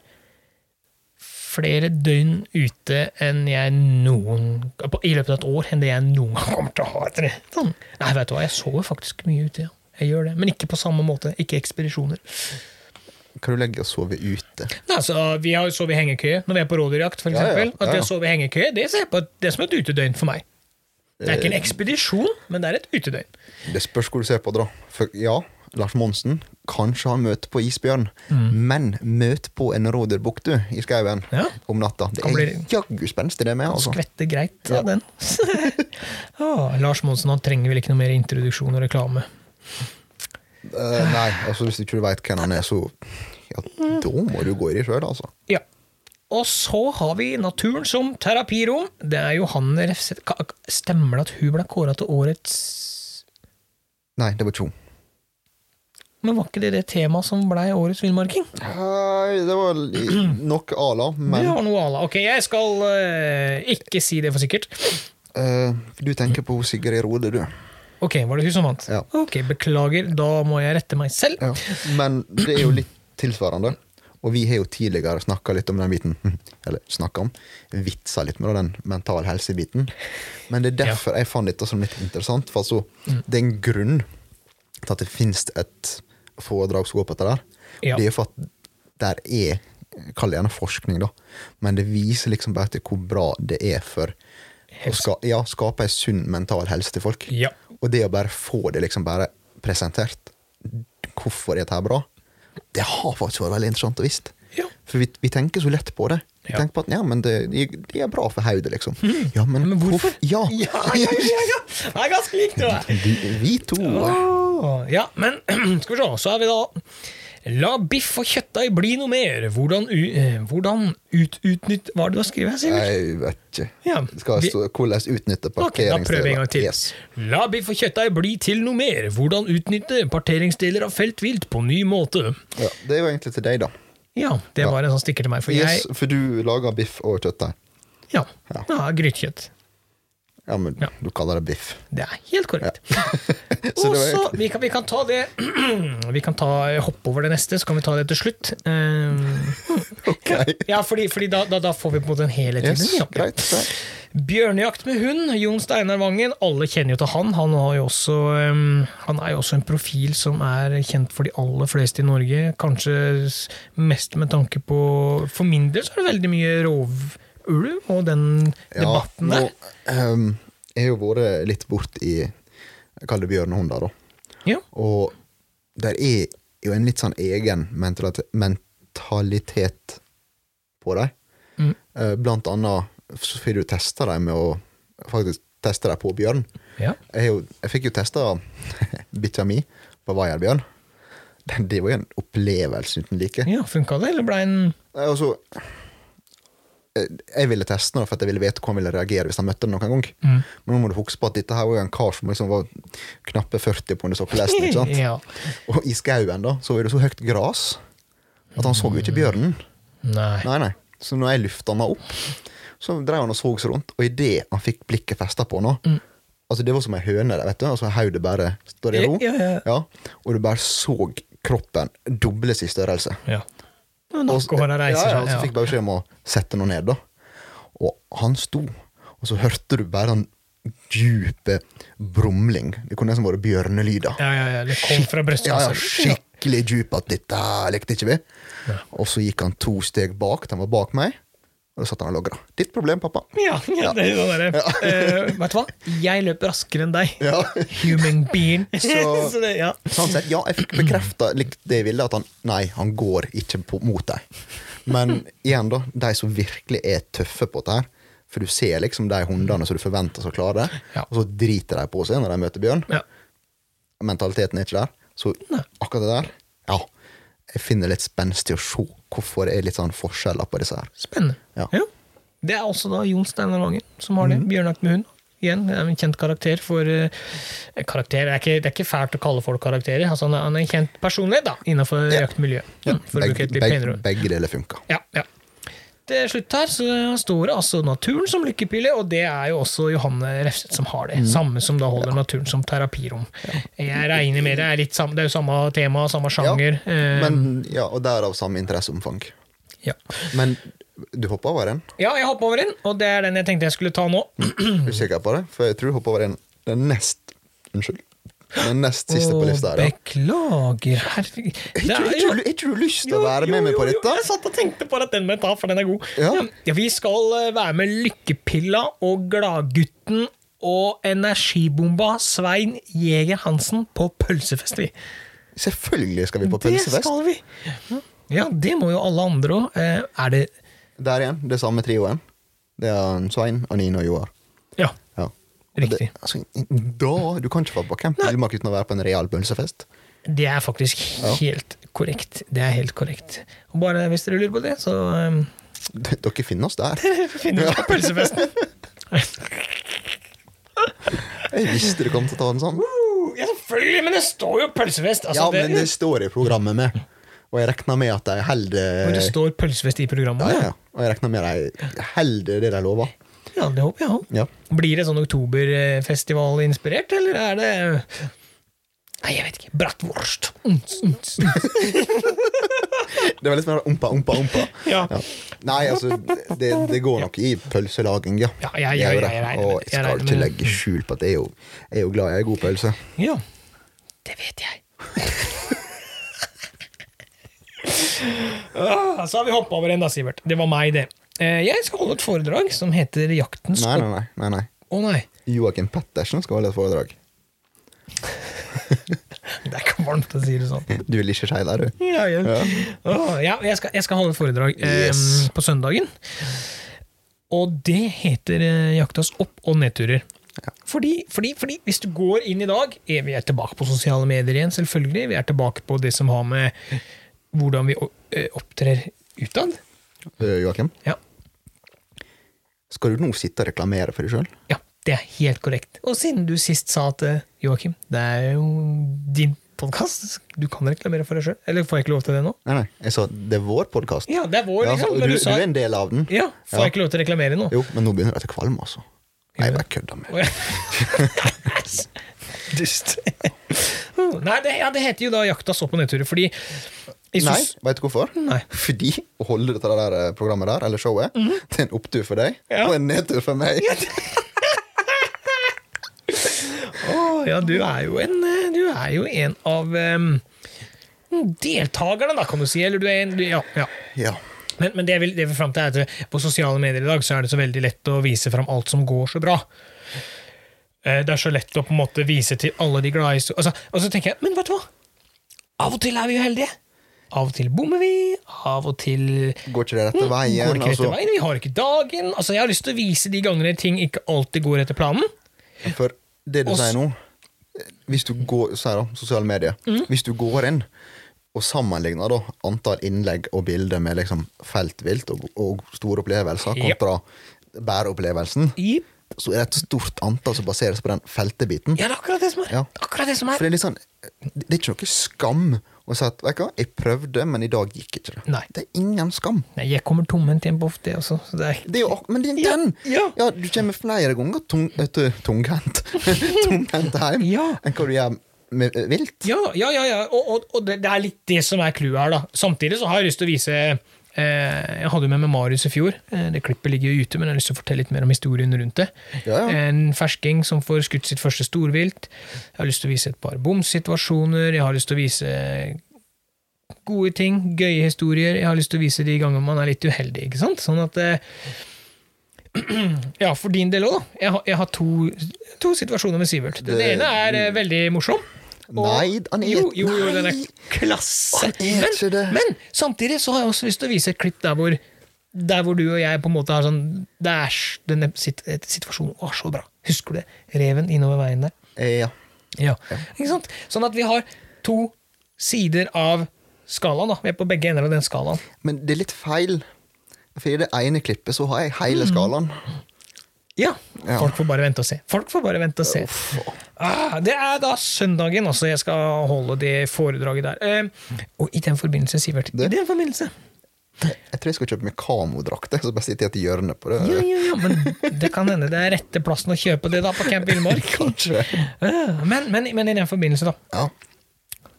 Speaker 1: flere døgn ute enn jeg noen på, i løpet av et år enn det jeg noen gang kommer til å ha etter det. Sånn. Nei, vet du hva, jeg sover faktisk mye ute, ja. Jeg gjør det, men ikke på samme måte. Ikke ekspedisjoner.
Speaker 2: Kan du legge og sove ute?
Speaker 1: Nei, altså, Vi har jo sovet i hengekøye når vi er på rådyrjakt, f.eks.
Speaker 2: Ja, ja,
Speaker 1: At vi
Speaker 2: ja, ja.
Speaker 1: har sovet i hengekøye, det ser jeg på at det er som et utedøgn for meg. Det er
Speaker 2: Eh.
Speaker 1: ikke en ekspedisjon, men det er et utedøgn.
Speaker 2: Det spørs hvor du ser på det, da. For ja, Lars Monsen, kanskje han møter på isbjørn, men møt på en rådyrbukk, du, i skauen
Speaker 1: Mm. Ja.
Speaker 2: om natta. Det
Speaker 1: Kan
Speaker 2: er
Speaker 1: bli-
Speaker 2: jaggu spenstig, det med, altså.
Speaker 1: Skvette greit av den. Å, Lars Monsen han trenger vel ikke noe mer introduksjon og reklame.
Speaker 2: Eh, nei, altså hvis ikke du veit hvem han er, så ja, da må du gå i det sjøl, altså.
Speaker 1: Ja. Og så har vi naturen som terapirom. Det er Johanne Refseth Ka- Ka- Stemmer det at hun ble kåra til årets
Speaker 2: Nei, det var ikke hun.
Speaker 1: Men var ikke det det temaet som blei årets villmarking?
Speaker 2: Nei, det var li- nok Ala,
Speaker 1: Det
Speaker 2: men
Speaker 1: var noe à la Ok, jeg skal eh, ikke si det for sikkert.
Speaker 2: eh, du tenker på Sigrid Rode, du.
Speaker 1: Ok, var det hun som vant?
Speaker 2: Ja.
Speaker 1: Ok, beklager. Da må jeg rette meg selv.
Speaker 2: Ja. Men det er jo litt tilsvarende. Og vi har jo tidligere snakka litt om den biten. Eller snakka om. Vitsa litt med den mental helse-biten. Men det er derfor jeg fant dette som litt interessant. For altså, det er en grunn til at det fins et foredrag som går på dette der.
Speaker 1: Ja.
Speaker 2: Det er jo for at der er Kall det gjerne forskning, da. Men det viser liksom bare til hvor bra det er for å ska, ja, skape ei sunn mental helse til folk.
Speaker 1: Ja.
Speaker 2: Og det å bare få det liksom bare presentert, hvorfor er dette her bra, det har faktisk vært veldig interessant å visst.
Speaker 1: Ja.
Speaker 2: For vi, vi tenker så lett på det. Vi
Speaker 1: Ja. Mm.
Speaker 2: tenker på at ja, men det, det er bra for hodet, liksom. Ja, men,
Speaker 1: Men hvorfor?
Speaker 2: hvorf- Ja.
Speaker 1: Ja, ja, ja, ja, ja. Det er ganske likt, det der.
Speaker 2: Vi, vi to
Speaker 1: Åh, Ja, men skal vi se, så er vi da La biff og kjøttdeig bli noe mer. Hvordan, u- eh, hvordan ut, utnytt... Hva er det du har skrevet her, Sivert?
Speaker 2: Jeg vet ikke.
Speaker 1: Ja, vi-
Speaker 2: Skal jeg stå, hvordan utnytte
Speaker 1: Ok, da
Speaker 2: parkeringssteder?
Speaker 1: prøver vi en gang til.
Speaker 2: Yes.
Speaker 1: La biff og kjøttdeig bli til noe mer. Hvordan utnytte parteringsdeler av feltvilt på ny måte.
Speaker 2: Ja, det er jo egentlig til deg, da.
Speaker 1: Ja, det var en sånn stikker til meg, for
Speaker 2: yes,
Speaker 1: jeg
Speaker 2: for du lager biff og kjøttdeig.
Speaker 1: Ja,
Speaker 2: Ja.
Speaker 1: ja grytekjøtt.
Speaker 2: Ja, men
Speaker 1: Ja.
Speaker 2: du kaller det biff.
Speaker 1: Det er helt korrekt.
Speaker 2: Så
Speaker 1: og
Speaker 2: det var
Speaker 1: så, vi, kan- vi kan ta det Vi kan ta, eh, hoppe over det neste, så kan vi ta det til slutt. Eh,
Speaker 2: Ok.
Speaker 1: ja, fordi, fordi da, da, da får vi på en måte en helhet i
Speaker 2: Yes,
Speaker 1: den. ja.
Speaker 2: greit. greit.
Speaker 1: Bjørnejakt med hund, Jon Steinar Vangen. Alle kjenner jo til han. Han, har jo også, ehm, han er jo også en profil som er kjent for de aller fleste i Norge. Kanskje s- mest med tanke på For min del så er det veldig mye rovulv og den debatten
Speaker 2: nå,
Speaker 1: der.
Speaker 2: ehm, jeg har jo vært litt bort i jeg kaller det bjørnehunder, da.
Speaker 1: Ja.
Speaker 2: Og der er jo en litt sånn egen mentalit- mentalitet på dem.
Speaker 1: Mm.
Speaker 2: Eh, Blant annet så får du testa dem med å faktisk teste dem på bjørn.
Speaker 1: Ja.
Speaker 2: Jeg, har jo, jeg fikk jo testa bikkja mi på vaierbjørn. Den- Det var jo en opplevelse uten like.
Speaker 1: ja, Funka det, eller blei den
Speaker 2: Nei, altså eh, Jeg ville teste den, for at jeg ville vite hvordan han ville reagere hvis han møtte den noen gang. Men nå må du huske på at dette her var jo en kar som liksom var knappe 40 på under sokkelesen. ikke sant?
Speaker 1: Ja.
Speaker 2: Og i skauen da, så var det så høyt gras at han så jo ikke bjørnen.
Speaker 1: Nei.
Speaker 2: Nei, nei. Så når jeg lufta han opp, så drev han og så seg rundt, og idet han fikk blikket festa på henne Altså Det var som ei høne der, vet du. Altså Hodet bare står i ro.
Speaker 1: Ja, ja, ja.
Speaker 2: Og du bare så kroppen dobles i størrelse.
Speaker 1: Ja.
Speaker 2: Og-
Speaker 1: Nakkehåra reiser
Speaker 2: ja, ja, og så
Speaker 1: seg. altså. Ja.
Speaker 2: fikk jeg bare beskjed om å sette noe ned, da. Og han sto, og så hørte du bare sånn dype brumling. Det kunne nesten vært bjørnelyder.
Speaker 1: Ja, ja, ja, det kom fra brystet.
Speaker 2: Ja, ja,
Speaker 1: altså.
Speaker 2: skikkelig djup at dette lekte ikke vi. Og så gikk han to steg bak. Han var bak meg. Og da satt han og logra. Ditt problem, pappa.
Speaker 1: Ja, ja, det er jo det. Eh, vet du hva? Jeg løper raskere enn deg.
Speaker 2: Ja.
Speaker 1: Human being.
Speaker 2: Så-
Speaker 1: det, ja.
Speaker 2: Sånn sett, ja, jeg fikk bekrefta likt det jeg ville, at han nei, han går ikke på, mot dem. Men igjen, da, de som virkelig er tøffe på dette her. For du ser liksom de hundene som du forventer skal klare det,
Speaker 1: Ja.
Speaker 2: og så driter de på seg når de møter bjørn.
Speaker 1: Ja.
Speaker 2: Mentaliteten er ikke der. Så
Speaker 1: Nei.
Speaker 2: akkurat det der, ja. Jeg finner det litt spenstig å se hvorfor det er litt sånn forskjeller på disse her.
Speaker 1: Spennende.
Speaker 2: Ja. Mhm.
Speaker 1: Jo. Det er også da Jon Steinar Vangen som har det. Bjørnjakt med hund. Igjen, det er en kjent karakter for eh, karakter, det er, ikke, det er ikke fælt å kalle folk karakterer. Altså, han, er, han er en kjent personlighet da, innenfor
Speaker 2: Ja.
Speaker 1: jaktmiljøet. Mm, for å bruke
Speaker 2: Begge,
Speaker 1: et litt
Speaker 2: begge,
Speaker 1: penere ord.
Speaker 2: begge deler funka.
Speaker 1: Ja, ja. Til slutt her så står det altså naturen som lykkepille, og det er jo også Johanne Refseth som har
Speaker 2: Mm.
Speaker 1: det. Samme som da holder naturen som terapirom. Jeg regner med det er litt samme, det er jo samme tema, samme sjanger. eh,
Speaker 2: Men, ja, og derav samme interesseomfang.
Speaker 1: ja.
Speaker 2: Men du hoppa over en?
Speaker 1: ja, jeg hopper over den, og det er den jeg tenkte jeg skulle ta nå.
Speaker 2: Er du sikker på det? For jeg tror jeg hopper over den, den nest Unnskyld. Den nest siste
Speaker 1: Åh,
Speaker 2: på lista her. ja.
Speaker 1: Beklager, herregud. Det
Speaker 2: Ikke,
Speaker 1: er-
Speaker 2: ikke, du- ikke du lyst til å være med meg på
Speaker 1: jo,
Speaker 2: dette?
Speaker 1: Jeg satt og tenkte på at den må jeg ta, for den er god.
Speaker 2: Ja.
Speaker 1: Ja, vi skal eh, være med Lykkepilla og Gladgutten og energibomba Svein Jeger Hansen på pølsefest. vi.
Speaker 2: Selvfølgelig skal vi på
Speaker 1: Det
Speaker 2: pølsefest.
Speaker 1: skal vi! Ja, det må jo alle andre òg. Er det
Speaker 2: Der igjen, det samme trioen. Det er en Svein, Anine og Joar.
Speaker 1: Ja,
Speaker 2: Ja. Og
Speaker 1: riktig.
Speaker 2: Det, altså, da, du kan ikke være på camp i Villmark uten å være på en real pølsefest.
Speaker 1: Det er faktisk helt korrekt. Det er helt korrekt. Og bare hvis dere lurer på det, så eh,
Speaker 2: D- Dere finner oss der.
Speaker 1: finner dere på pølsefesten.
Speaker 2: Jeg visste du kom til å ta den sånn.
Speaker 1: Uh, Ja, selvfølgelig, men det står jo pølsefest. Altså,
Speaker 2: Ja, men det står i programmet med. Og jeg regner med at de
Speaker 1: Men det
Speaker 2: holder
Speaker 1: står pølsefest i programmet?
Speaker 2: Eh,
Speaker 1: Ja,
Speaker 2: ja, ja. Og jeg regner med de holder det de lover.
Speaker 1: det håper jeg òg.
Speaker 2: Ja.
Speaker 1: Blir det sånn oktoberfestival-inspirert, eller er det Nei, jeg vet ikke. Bratwurst. Mm, Uns, uns, uns.
Speaker 2: Det var litt mer ompa, ompa, ompa.
Speaker 1: Ja.
Speaker 2: Ja. Nei, altså, det, det går nok i pølselaging, ja.
Speaker 1: Ja, jeg-
Speaker 2: Det er jo
Speaker 1: jeg-
Speaker 2: det.
Speaker 1: jeg regner-
Speaker 2: Og
Speaker 1: jeg
Speaker 2: jeg skal
Speaker 1: regner
Speaker 2: ikke
Speaker 1: med-
Speaker 2: legge skjul på at jeg er jo, jeg er jo glad i en god pølse.
Speaker 1: Ja. Det vet jeg. Ah, Så har vi hoppa over en, da, Sivert. Det var meg, det. Eh, Jeg skal holde et foredrag som heter Jaktens
Speaker 2: Nei,
Speaker 1: opp... Å,
Speaker 2: nei, nei. nei, nei.
Speaker 1: nei.
Speaker 2: Joakim Pettersen skal holde et foredrag.
Speaker 1: Det er ikke varmt å si det sånn.
Speaker 2: Du vil ikke si det, du?
Speaker 1: Ja, ja.
Speaker 2: Ja.
Speaker 1: Åh, ja jeg, skal, jeg skal holde foredrag eh,
Speaker 2: Yes.
Speaker 1: på søndagen. Og det heter eh, Jaktas opp- og nedturer. Fordi, fordi, fordi hvis du går inn i dag er Vi er tilbake på sosiale medier igjen, selvfølgelig. Vi er tilbake på det som har med hvordan vi o- eh, opptrer utad.
Speaker 2: Eh, Joakim,
Speaker 1: Ja,
Speaker 2: skal du nå sitte og reklamere for deg sjøl?
Speaker 1: ja, det er helt korrekt. Og siden du sist sa at eh, Joakim, det er jo din podkast, du kan reklamere for deg sjøl. Eller får jeg ikke lov til det nå?
Speaker 2: Nei, nei. Jeg sa det er vår podkast.
Speaker 1: Ja, det er vår, liksom.
Speaker 2: altså, du,
Speaker 1: Men
Speaker 2: du
Speaker 1: du sa
Speaker 2: er en del av den.
Speaker 1: Ja, får jeg ikke lov til å reklamere nå?
Speaker 2: Jo, men nå begynner jeg til kvalm, altså. Nei, jeg
Speaker 1: Gjør
Speaker 2: bare kødda med
Speaker 1: Dust. Nei, det, ja, det heter jo da Jaktas opp- og nedturer, fordi jeg
Speaker 2: Nei,
Speaker 1: synes-
Speaker 2: veit du hvorfor?
Speaker 1: Nei. Mhm.
Speaker 2: Fordi å holde dette der eh, programmet der, eller showet, det er en opptur for deg
Speaker 1: Ja.
Speaker 2: og en nedtur for meg.
Speaker 1: Å, ja, du er jo en, eh, du er jo en av em, deltakerne, da, kan du si. Eller du er en du, Ja. ja.
Speaker 2: Ja.
Speaker 1: Men, men det jeg vil, det jeg vil frem til er at eh, på sosiale medier i dag så er det så veldig lett å vise fram alt som går så bra. Eh, Det er så lett å på en måte vise til alle de glade historiene altså, Og så tenker jeg, men vet du hva? Av og til er vi uheldige. Av og til bommer vi. Av og til
Speaker 2: Går ikke det rette veien?
Speaker 1: Mm. går ikke
Speaker 2: altså,
Speaker 1: etter veien. Vi har ikke dagen. Altså, Jeg har lyst til å vise de gangene ting ikke alltid går etter planen.
Speaker 2: For det du
Speaker 1: Og s-
Speaker 2: sier nå Hvis du går, sier da, sosiale medier
Speaker 1: Mm.
Speaker 2: Hvis du går inn og sammenligner da antall innlegg og bilder med liksom feltvilt og, og store opplevelser
Speaker 1: Ja.
Speaker 2: kontra bæreopplevelsen,
Speaker 1: Jipp.
Speaker 2: så er det et stort antall som baseres på den feltebiten.
Speaker 1: Ja, det er akkurat det som er.
Speaker 2: Ja.
Speaker 1: Akkurat det som
Speaker 2: For
Speaker 1: er.
Speaker 2: det er litt sånn Det er ikke noe skam å si at vet du hva, jeg prøvde, men i dag gikk ikke det.
Speaker 1: Nei.
Speaker 2: Det er ingen skam.
Speaker 1: Nei, jeg kommer tomhendt hjem på ofte, jeg også. Så det er
Speaker 2: Det er jo, ak- men det er
Speaker 1: Ja,
Speaker 2: den!
Speaker 1: ja.
Speaker 2: du kommer flere ganger tung, eh, etter, tunghendt Tunghendt hjem
Speaker 1: Ja.
Speaker 2: enn hva du gjør med eh, vilt.
Speaker 1: Ja, ja, ja, ja. Og, og, og det, det er litt det som er clouet her, da. Samtidig så har jeg lyst til å vise Eh, Jeg hadde jo med meg Marius i fjor. Eh, Det klippet ligger jo ute, men jeg har lyst til å fortelle litt mer om historien rundt det.
Speaker 2: Ja, ja.
Speaker 1: En fersking som får skutt sitt første storvilt. Jeg har lyst til å vise et par bomsituasjoner. Jeg har lyst til å vise gode ting, gøye historier. Jeg har lyst til å vise de ganger man er litt uheldig, ikke sant? Sånn at eh, Ja, for din del òg, da. Jeg har, jeg har to, to situasjoner med Sivert. Den
Speaker 2: Det-
Speaker 1: ene er eh, veldig morsom. og-
Speaker 2: Nei, han er
Speaker 1: jo, jo, jo, den er
Speaker 2: Nei!
Speaker 1: klasse!
Speaker 2: Han er ikke
Speaker 1: men,
Speaker 2: det.
Speaker 1: men samtidig så har jeg også lyst til å vise et klipp der hvor, der hvor du og jeg på en måte har sånn Dæsj! Denne sit, eh, situasjonen var så bra. Husker du det? Reven innover veien der.
Speaker 2: Eh, ja.
Speaker 1: Ja. Ikke sant? Sånn at vi har to sider av skalaen. da. Vi er på begge ender av den skalaen.
Speaker 2: Men det er litt feil. For i det ene klippet så har jeg
Speaker 1: Mm.
Speaker 2: hele skalaen.
Speaker 1: Ja.
Speaker 2: Ja.
Speaker 1: Folk får bare vente og se. Folk får bare vente og se. Ah, det er da søndagen altså jeg skal holde det foredraget der. Eh, og i den forbindelse, Sivert I
Speaker 2: Det-
Speaker 1: den forbindelse.
Speaker 2: Jeg tror jeg skal kjøpe meg kamodrakter. Så bare sitter jeg til hjørnet på det.
Speaker 1: Ja, ja, ja, men det kan hende det er rette plassen å kjøpe det da på Camp Villmark. Eh, men, men, men i den forbindelse, da,
Speaker 2: Ja.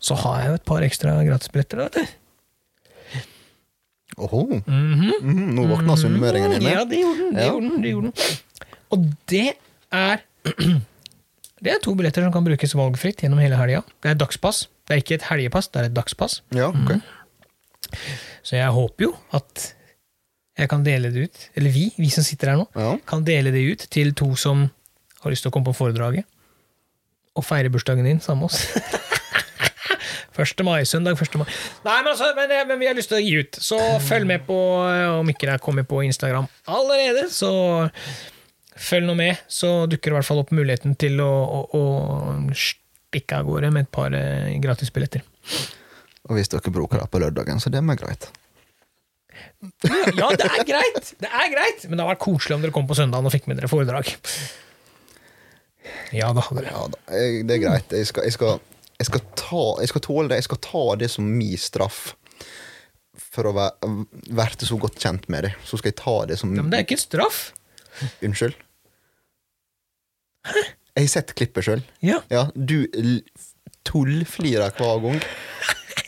Speaker 1: så har jeg jo et par ekstra gratisbilletter. da, vet du.
Speaker 2: Oho. Mhm, nå våkna sunnmøringen inne.
Speaker 1: Mm, Ja, det gjorde den. Det
Speaker 2: Ja.
Speaker 1: gjorde den, det gjorde den. Og det er Det er to billetter som kan brukes valgfritt gjennom hele helga. Det er dagspass. Det er ikke et helgepass, det er et dagspass.
Speaker 2: Ja, ok.
Speaker 1: Så jeg håper jo at jeg kan dele det ut, eller vi, vi som sitter her nå,
Speaker 2: Ja.
Speaker 1: kan dele det ut til to som har lyst til å komme på foredraget, og feire bursdagen din sammen med oss. 1. mai, søndag 1. mai. Nei, men, altså, men, men vi har lyst til å gi ut, så følg med på, eh, om ikke det er kommet på Instagram allerede, så følg nå med, så dukker det i hvert fall opp muligheten til å, å, å stikke av gårde med et par eh, gratisbilletter.
Speaker 2: Og hvis dere bruker det på lørdagen, så det er meg greit.
Speaker 1: Ja, det er greit! Det er greit Men det hadde vært koselig om dere kom på søndagen og fikk med dere foredrag. Ja, det hadde dere.
Speaker 2: Ja da, jeg, det er greit. Jeg skal, jeg, skal, jeg, skal ta, jeg skal tåle det. Jeg skal ta det som min straff for å være, være så godt kjent med det. Så skal jeg ta det som
Speaker 1: Ja, men det er ikke straff.
Speaker 2: Unnskyld? Jeg har sett klippet sjøl.
Speaker 1: Ja.
Speaker 2: Ja, du l- tullflirer hver gang.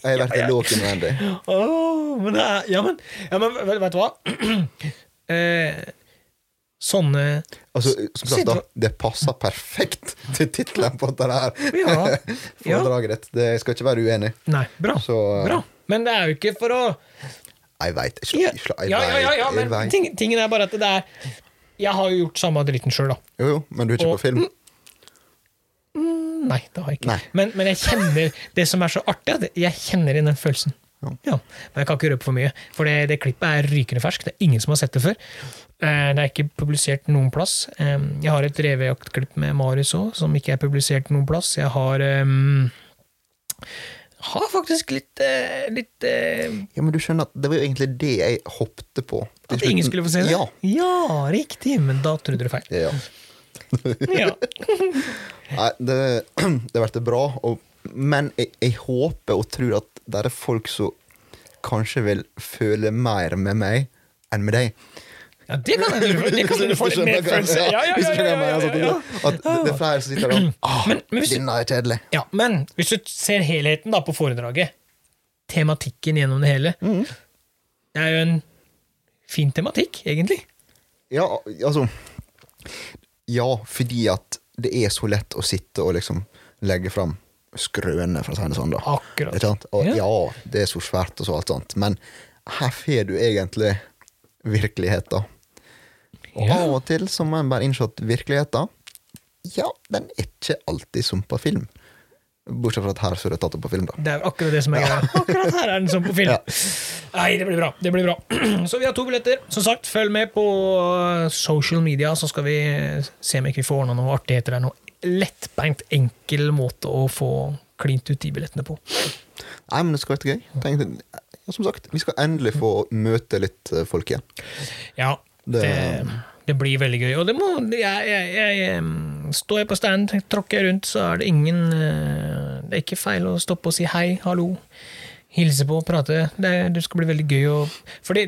Speaker 2: Jeg har vært i låt innvendig.
Speaker 1: Åh, men det er Ja, men, ja, men vet, vet du hva? eh, sånne
Speaker 2: Altså, som sagt, da, det passer perfekt til tittelen på dette her
Speaker 1: Ja. ja.
Speaker 2: foredraget ditt. Det jeg skal ikke være uenig.
Speaker 1: Nei, bra.
Speaker 2: Så- eh,
Speaker 1: bra. Men det er jo ikke for å
Speaker 2: Jeg veit ikke.
Speaker 1: Ja,
Speaker 2: Jeg
Speaker 1: ja,
Speaker 2: vet,
Speaker 1: ja, ja, ja
Speaker 2: jeg
Speaker 1: men
Speaker 2: vet.
Speaker 1: ting, tingen er bare at det er Jeg har jo gjort samme dritten sjøl, da.
Speaker 2: Jo, jo, men du er ikke
Speaker 1: Og- Mm.
Speaker 2: på film.
Speaker 1: Nei, det har jeg ikke.
Speaker 2: Nei.
Speaker 1: Men, men jeg kjenner det som er så artig, at jeg kjenner inn den følelsen.
Speaker 2: Ja.
Speaker 1: Ja, Men jeg kan ikke røpe for mye, for det, det klippet er rykende ferskt. Det er ingen som har sett det før. Eh, Det er ikke publisert noen plass. Eh, Jeg har et revejaktklipp med Marius òg, som ikke er publisert noen plass. Jeg har ehm, har faktisk litt, eh, litt eh,
Speaker 2: Ja, men du skjønner at Det var jo egentlig det jeg hoppte på. til
Speaker 1: At ingen
Speaker 2: slutten.
Speaker 1: skulle få se det?
Speaker 2: Ja.
Speaker 1: ja, riktig! Men da trodde du feil.
Speaker 2: ja.
Speaker 1: Ja.
Speaker 2: Nei, det, det ble bra, og, men jeg, jeg håper og tror at det er folk som kanskje vil føle mer med meg enn med deg.
Speaker 1: ja, det kan hende du- det kan hende du får litt mer følelse
Speaker 2: Ja,
Speaker 1: Ja, ja,
Speaker 2: hvis
Speaker 1: ja,
Speaker 2: du skjønner
Speaker 1: ja,
Speaker 2: hva
Speaker 1: ja,
Speaker 2: jeg mener,
Speaker 1: ja, ja.
Speaker 2: sånn At det- det er flere som sitter der og ah,
Speaker 1: Men- men hvis du-
Speaker 2: Denne er kjedelig.
Speaker 1: Ja, men hvis du ser helheten da på foredraget, tematikken gjennom det hele, det er jo en fin tematikk, egentlig.
Speaker 2: Ja, altså Ja, fordi at det er så lett å sitte og liksom legge fram skrøner, for å si det sånn. da
Speaker 1: Akkurat.
Speaker 2: Ikke sant? Og
Speaker 1: Ja.
Speaker 2: ja. det er så svært og så alt sånt, men her får du egentlig virkeligheten. Og
Speaker 1: Ja.
Speaker 2: av og til så må en bare innse at virkeligheten Ja, den er ikke alltid som på film. Bortsett fra at her så er det tatt opp på film, da.
Speaker 1: Det er akkurat det som er greia. Akkurat her er den som på film.
Speaker 2: Ja.
Speaker 1: Nei, det blir bra. det blir bra. Så vi har to billetter. Som sagt, følg med på eh, social media, så skal vi se om ikke vi får ordna noe artigheter der. Noe lettbeint, enkel måte å få klint ut de billettene på.
Speaker 2: Nei, men det skal være gøy. Tenk, ja, som sagt, vi skal endelig få møte litt eh, folk igjen.
Speaker 1: Ja, det,
Speaker 2: Det-
Speaker 1: det, blir veldig gøy. Og det må jeg, jeg, jeg, mm, Står jeg på stand, tråkker jeg rundt, så er det ingen eh, Det er ikke feil å stoppe og si hei, hallo, hilse på, prate. Det, det skal bli veldig gøy å Fordi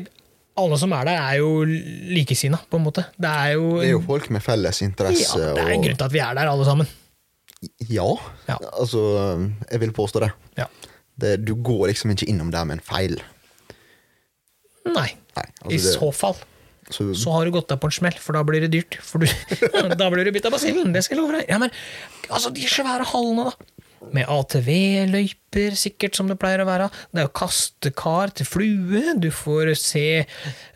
Speaker 1: alle som er der, er jo likesinna, på en måte. Det er jo,
Speaker 2: Det er jo folk med
Speaker 1: Mm.
Speaker 2: felles
Speaker 1: ja,
Speaker 2: interesse.
Speaker 1: det er en grunn til at vi er der, alle sammen.
Speaker 2: og Ja.
Speaker 1: Ja.
Speaker 2: Altså, jeg vil påstå det.
Speaker 1: Ja.
Speaker 2: det. Du går liksom ikke innom der med en feil.
Speaker 1: Nei.
Speaker 2: Nei, altså
Speaker 1: I
Speaker 2: det-
Speaker 1: så fall
Speaker 2: Så,
Speaker 1: så har du gått deg på en smell, for da blir det dyrt. For du, da blir du bitt av basillen. Det skal jeg love deg. Ja, men altså, de svære hallene, da. Med ATV-løyper, sikkert, som det pleier å være. Det er jo kastekar til flue. Du får se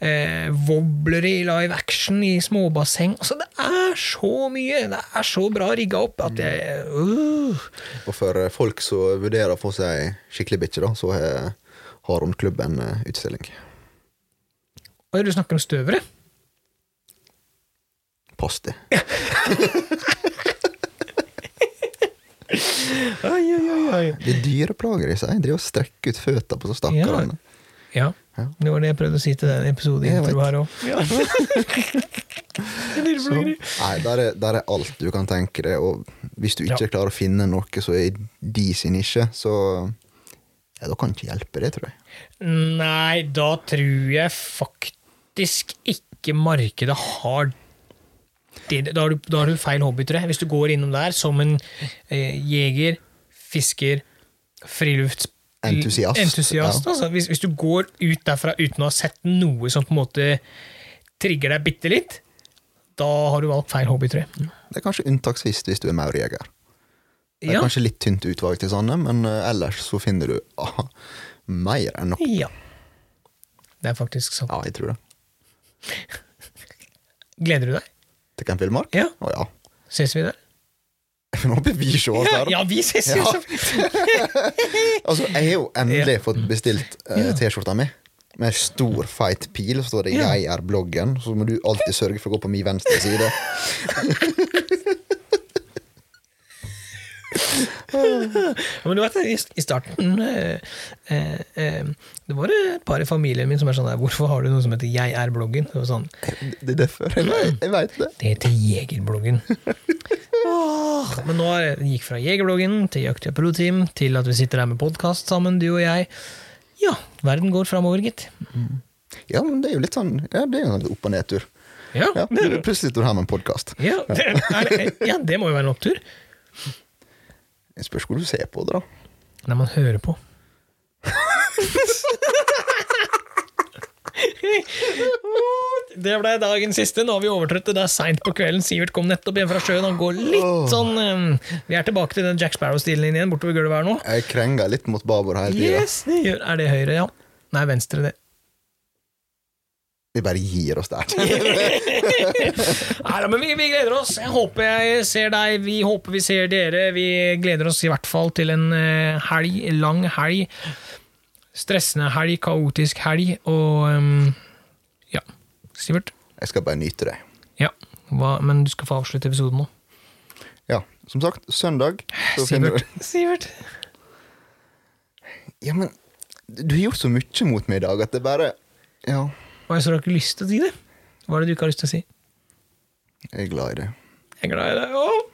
Speaker 1: eh, wobbler i live action i småbasseng. Altså, det er så mye! Det er så bra rigga opp at jeg uh.
Speaker 2: og for eh, folk som vurderer å få seg skikkelig bikkje, da, så eh, har Romklubb en eh, utstilling.
Speaker 1: Oi, du snakker om støvere?
Speaker 2: Pass det.
Speaker 1: Oi, oi, oi, oi.
Speaker 2: Det er dyreplager i seg. De driver og strekker ut føttene på så stakkarene.
Speaker 1: Ja.
Speaker 2: Ja.
Speaker 1: Det var det jeg prøvde å si til den episoden
Speaker 2: Jeg
Speaker 1: intro
Speaker 2: vet.
Speaker 1: her òg. Ja. Jeg lurer på det.
Speaker 2: Nei, der er, der er alt du kan tenke deg, og hvis du ikke klarer å finne noe som er i de sin nisje, så ja, Da kan ikke hjelpe det, tror jeg.
Speaker 1: Nei, da tror jeg faktisk ikke markedet har det. Da har du, da har du feil hobby, tror jeg. Hvis du går innom der som en eh, jeger, fisker, frilufts...
Speaker 2: Entusiast,
Speaker 1: entusiast
Speaker 2: ja.
Speaker 1: altså. hvis, hvis du går ut derfra uten å ha sett noe som på en måte trigger deg bitte litt, da har du valgt feil hobby, tror jeg.
Speaker 2: Det er kanskje unntaksvis hvis du er maurjeger. Det er
Speaker 1: Ja.
Speaker 2: kanskje litt tynt utvalg til sånne, men eh, ellers så finner du ah, mer enn nok.
Speaker 1: ja. Det er faktisk sånn.
Speaker 2: Ja, jeg tror det.
Speaker 1: Gleder du deg?
Speaker 2: Til Camp Villmark?
Speaker 1: Ja.
Speaker 2: Å ja.
Speaker 1: Ses vi der?
Speaker 2: Nå blir vi så alt her.
Speaker 1: Ja, vi ses jo!
Speaker 2: Ja.
Speaker 1: så-
Speaker 2: Altså, jeg har jo endelig fått bestilt eh, T-skjorta mi. Med stor, feit pil, så står det 'Jeg er bloggen'. Så må du alltid sørge for å gå på min venstre side.
Speaker 1: Ja, Men du vet, i, i starten eh, eh, eh, Det var et par i familien min som er sånn der Hvorfor har du noe som heter 'Jeg er bloggen'? Det var sånn
Speaker 2: Det er derfor. Jeg, vet- jeg veit det.
Speaker 1: Det heter Jegerbloggen. Åh, Men nå er, det gikk fra Jegerbloggen til Jakta Pro-team til at vi sitter her med podkast sammen, du og jeg. Ja, verden går framover, gitt.
Speaker 2: Ja, men det er jo litt sånn Ja, det er jo en opp- og nedtur.
Speaker 1: Ja,
Speaker 2: Ja, du- plutselig står du her med en podkast.
Speaker 1: ja, det, er, det- ja, det må jo være en opptur.
Speaker 2: Jeg spørs hvor du ser på det, da.
Speaker 1: Når man hører på. Det ble dagens siste. Nå har vi overtrøtt det. Det er seint på kvelden. Sivert kom nettopp hjem fra sjøen. Han går litt sånn eh, Vi er tilbake til den Jack Sparrow-stilen din igjen bortover gulvet her nå.
Speaker 2: Jeg krenger litt mot babord hele tida.
Speaker 1: Yes, det gjør. Er det høyre, ja? Nei, venstre, det.
Speaker 2: Vi bare gir oss der.
Speaker 1: Nei da, men vi, vi gleder oss. Jeg håper jeg ser deg. Vi håper vi ser dere. Vi gleder oss i hvert fall til en eh, helg. en Lang helg. Stressende helg. Kaotisk helg. Og ehm, ja. Sivert?
Speaker 2: Jeg skal bare nyte det.
Speaker 1: Ja. Hva, men du skal få avslutte episoden nå.
Speaker 2: Ja, som sagt, søndag så finner du
Speaker 1: Sivert. Sivert.
Speaker 2: Ja, men du har gjort så mye mot meg i dag at det bare Ja,
Speaker 1: Hva er det så du har ikke lyst til å si det? Hva er det du ikke har lyst til å si?
Speaker 2: jeg er glad i det.
Speaker 1: Jeg er glad i deg. Åh!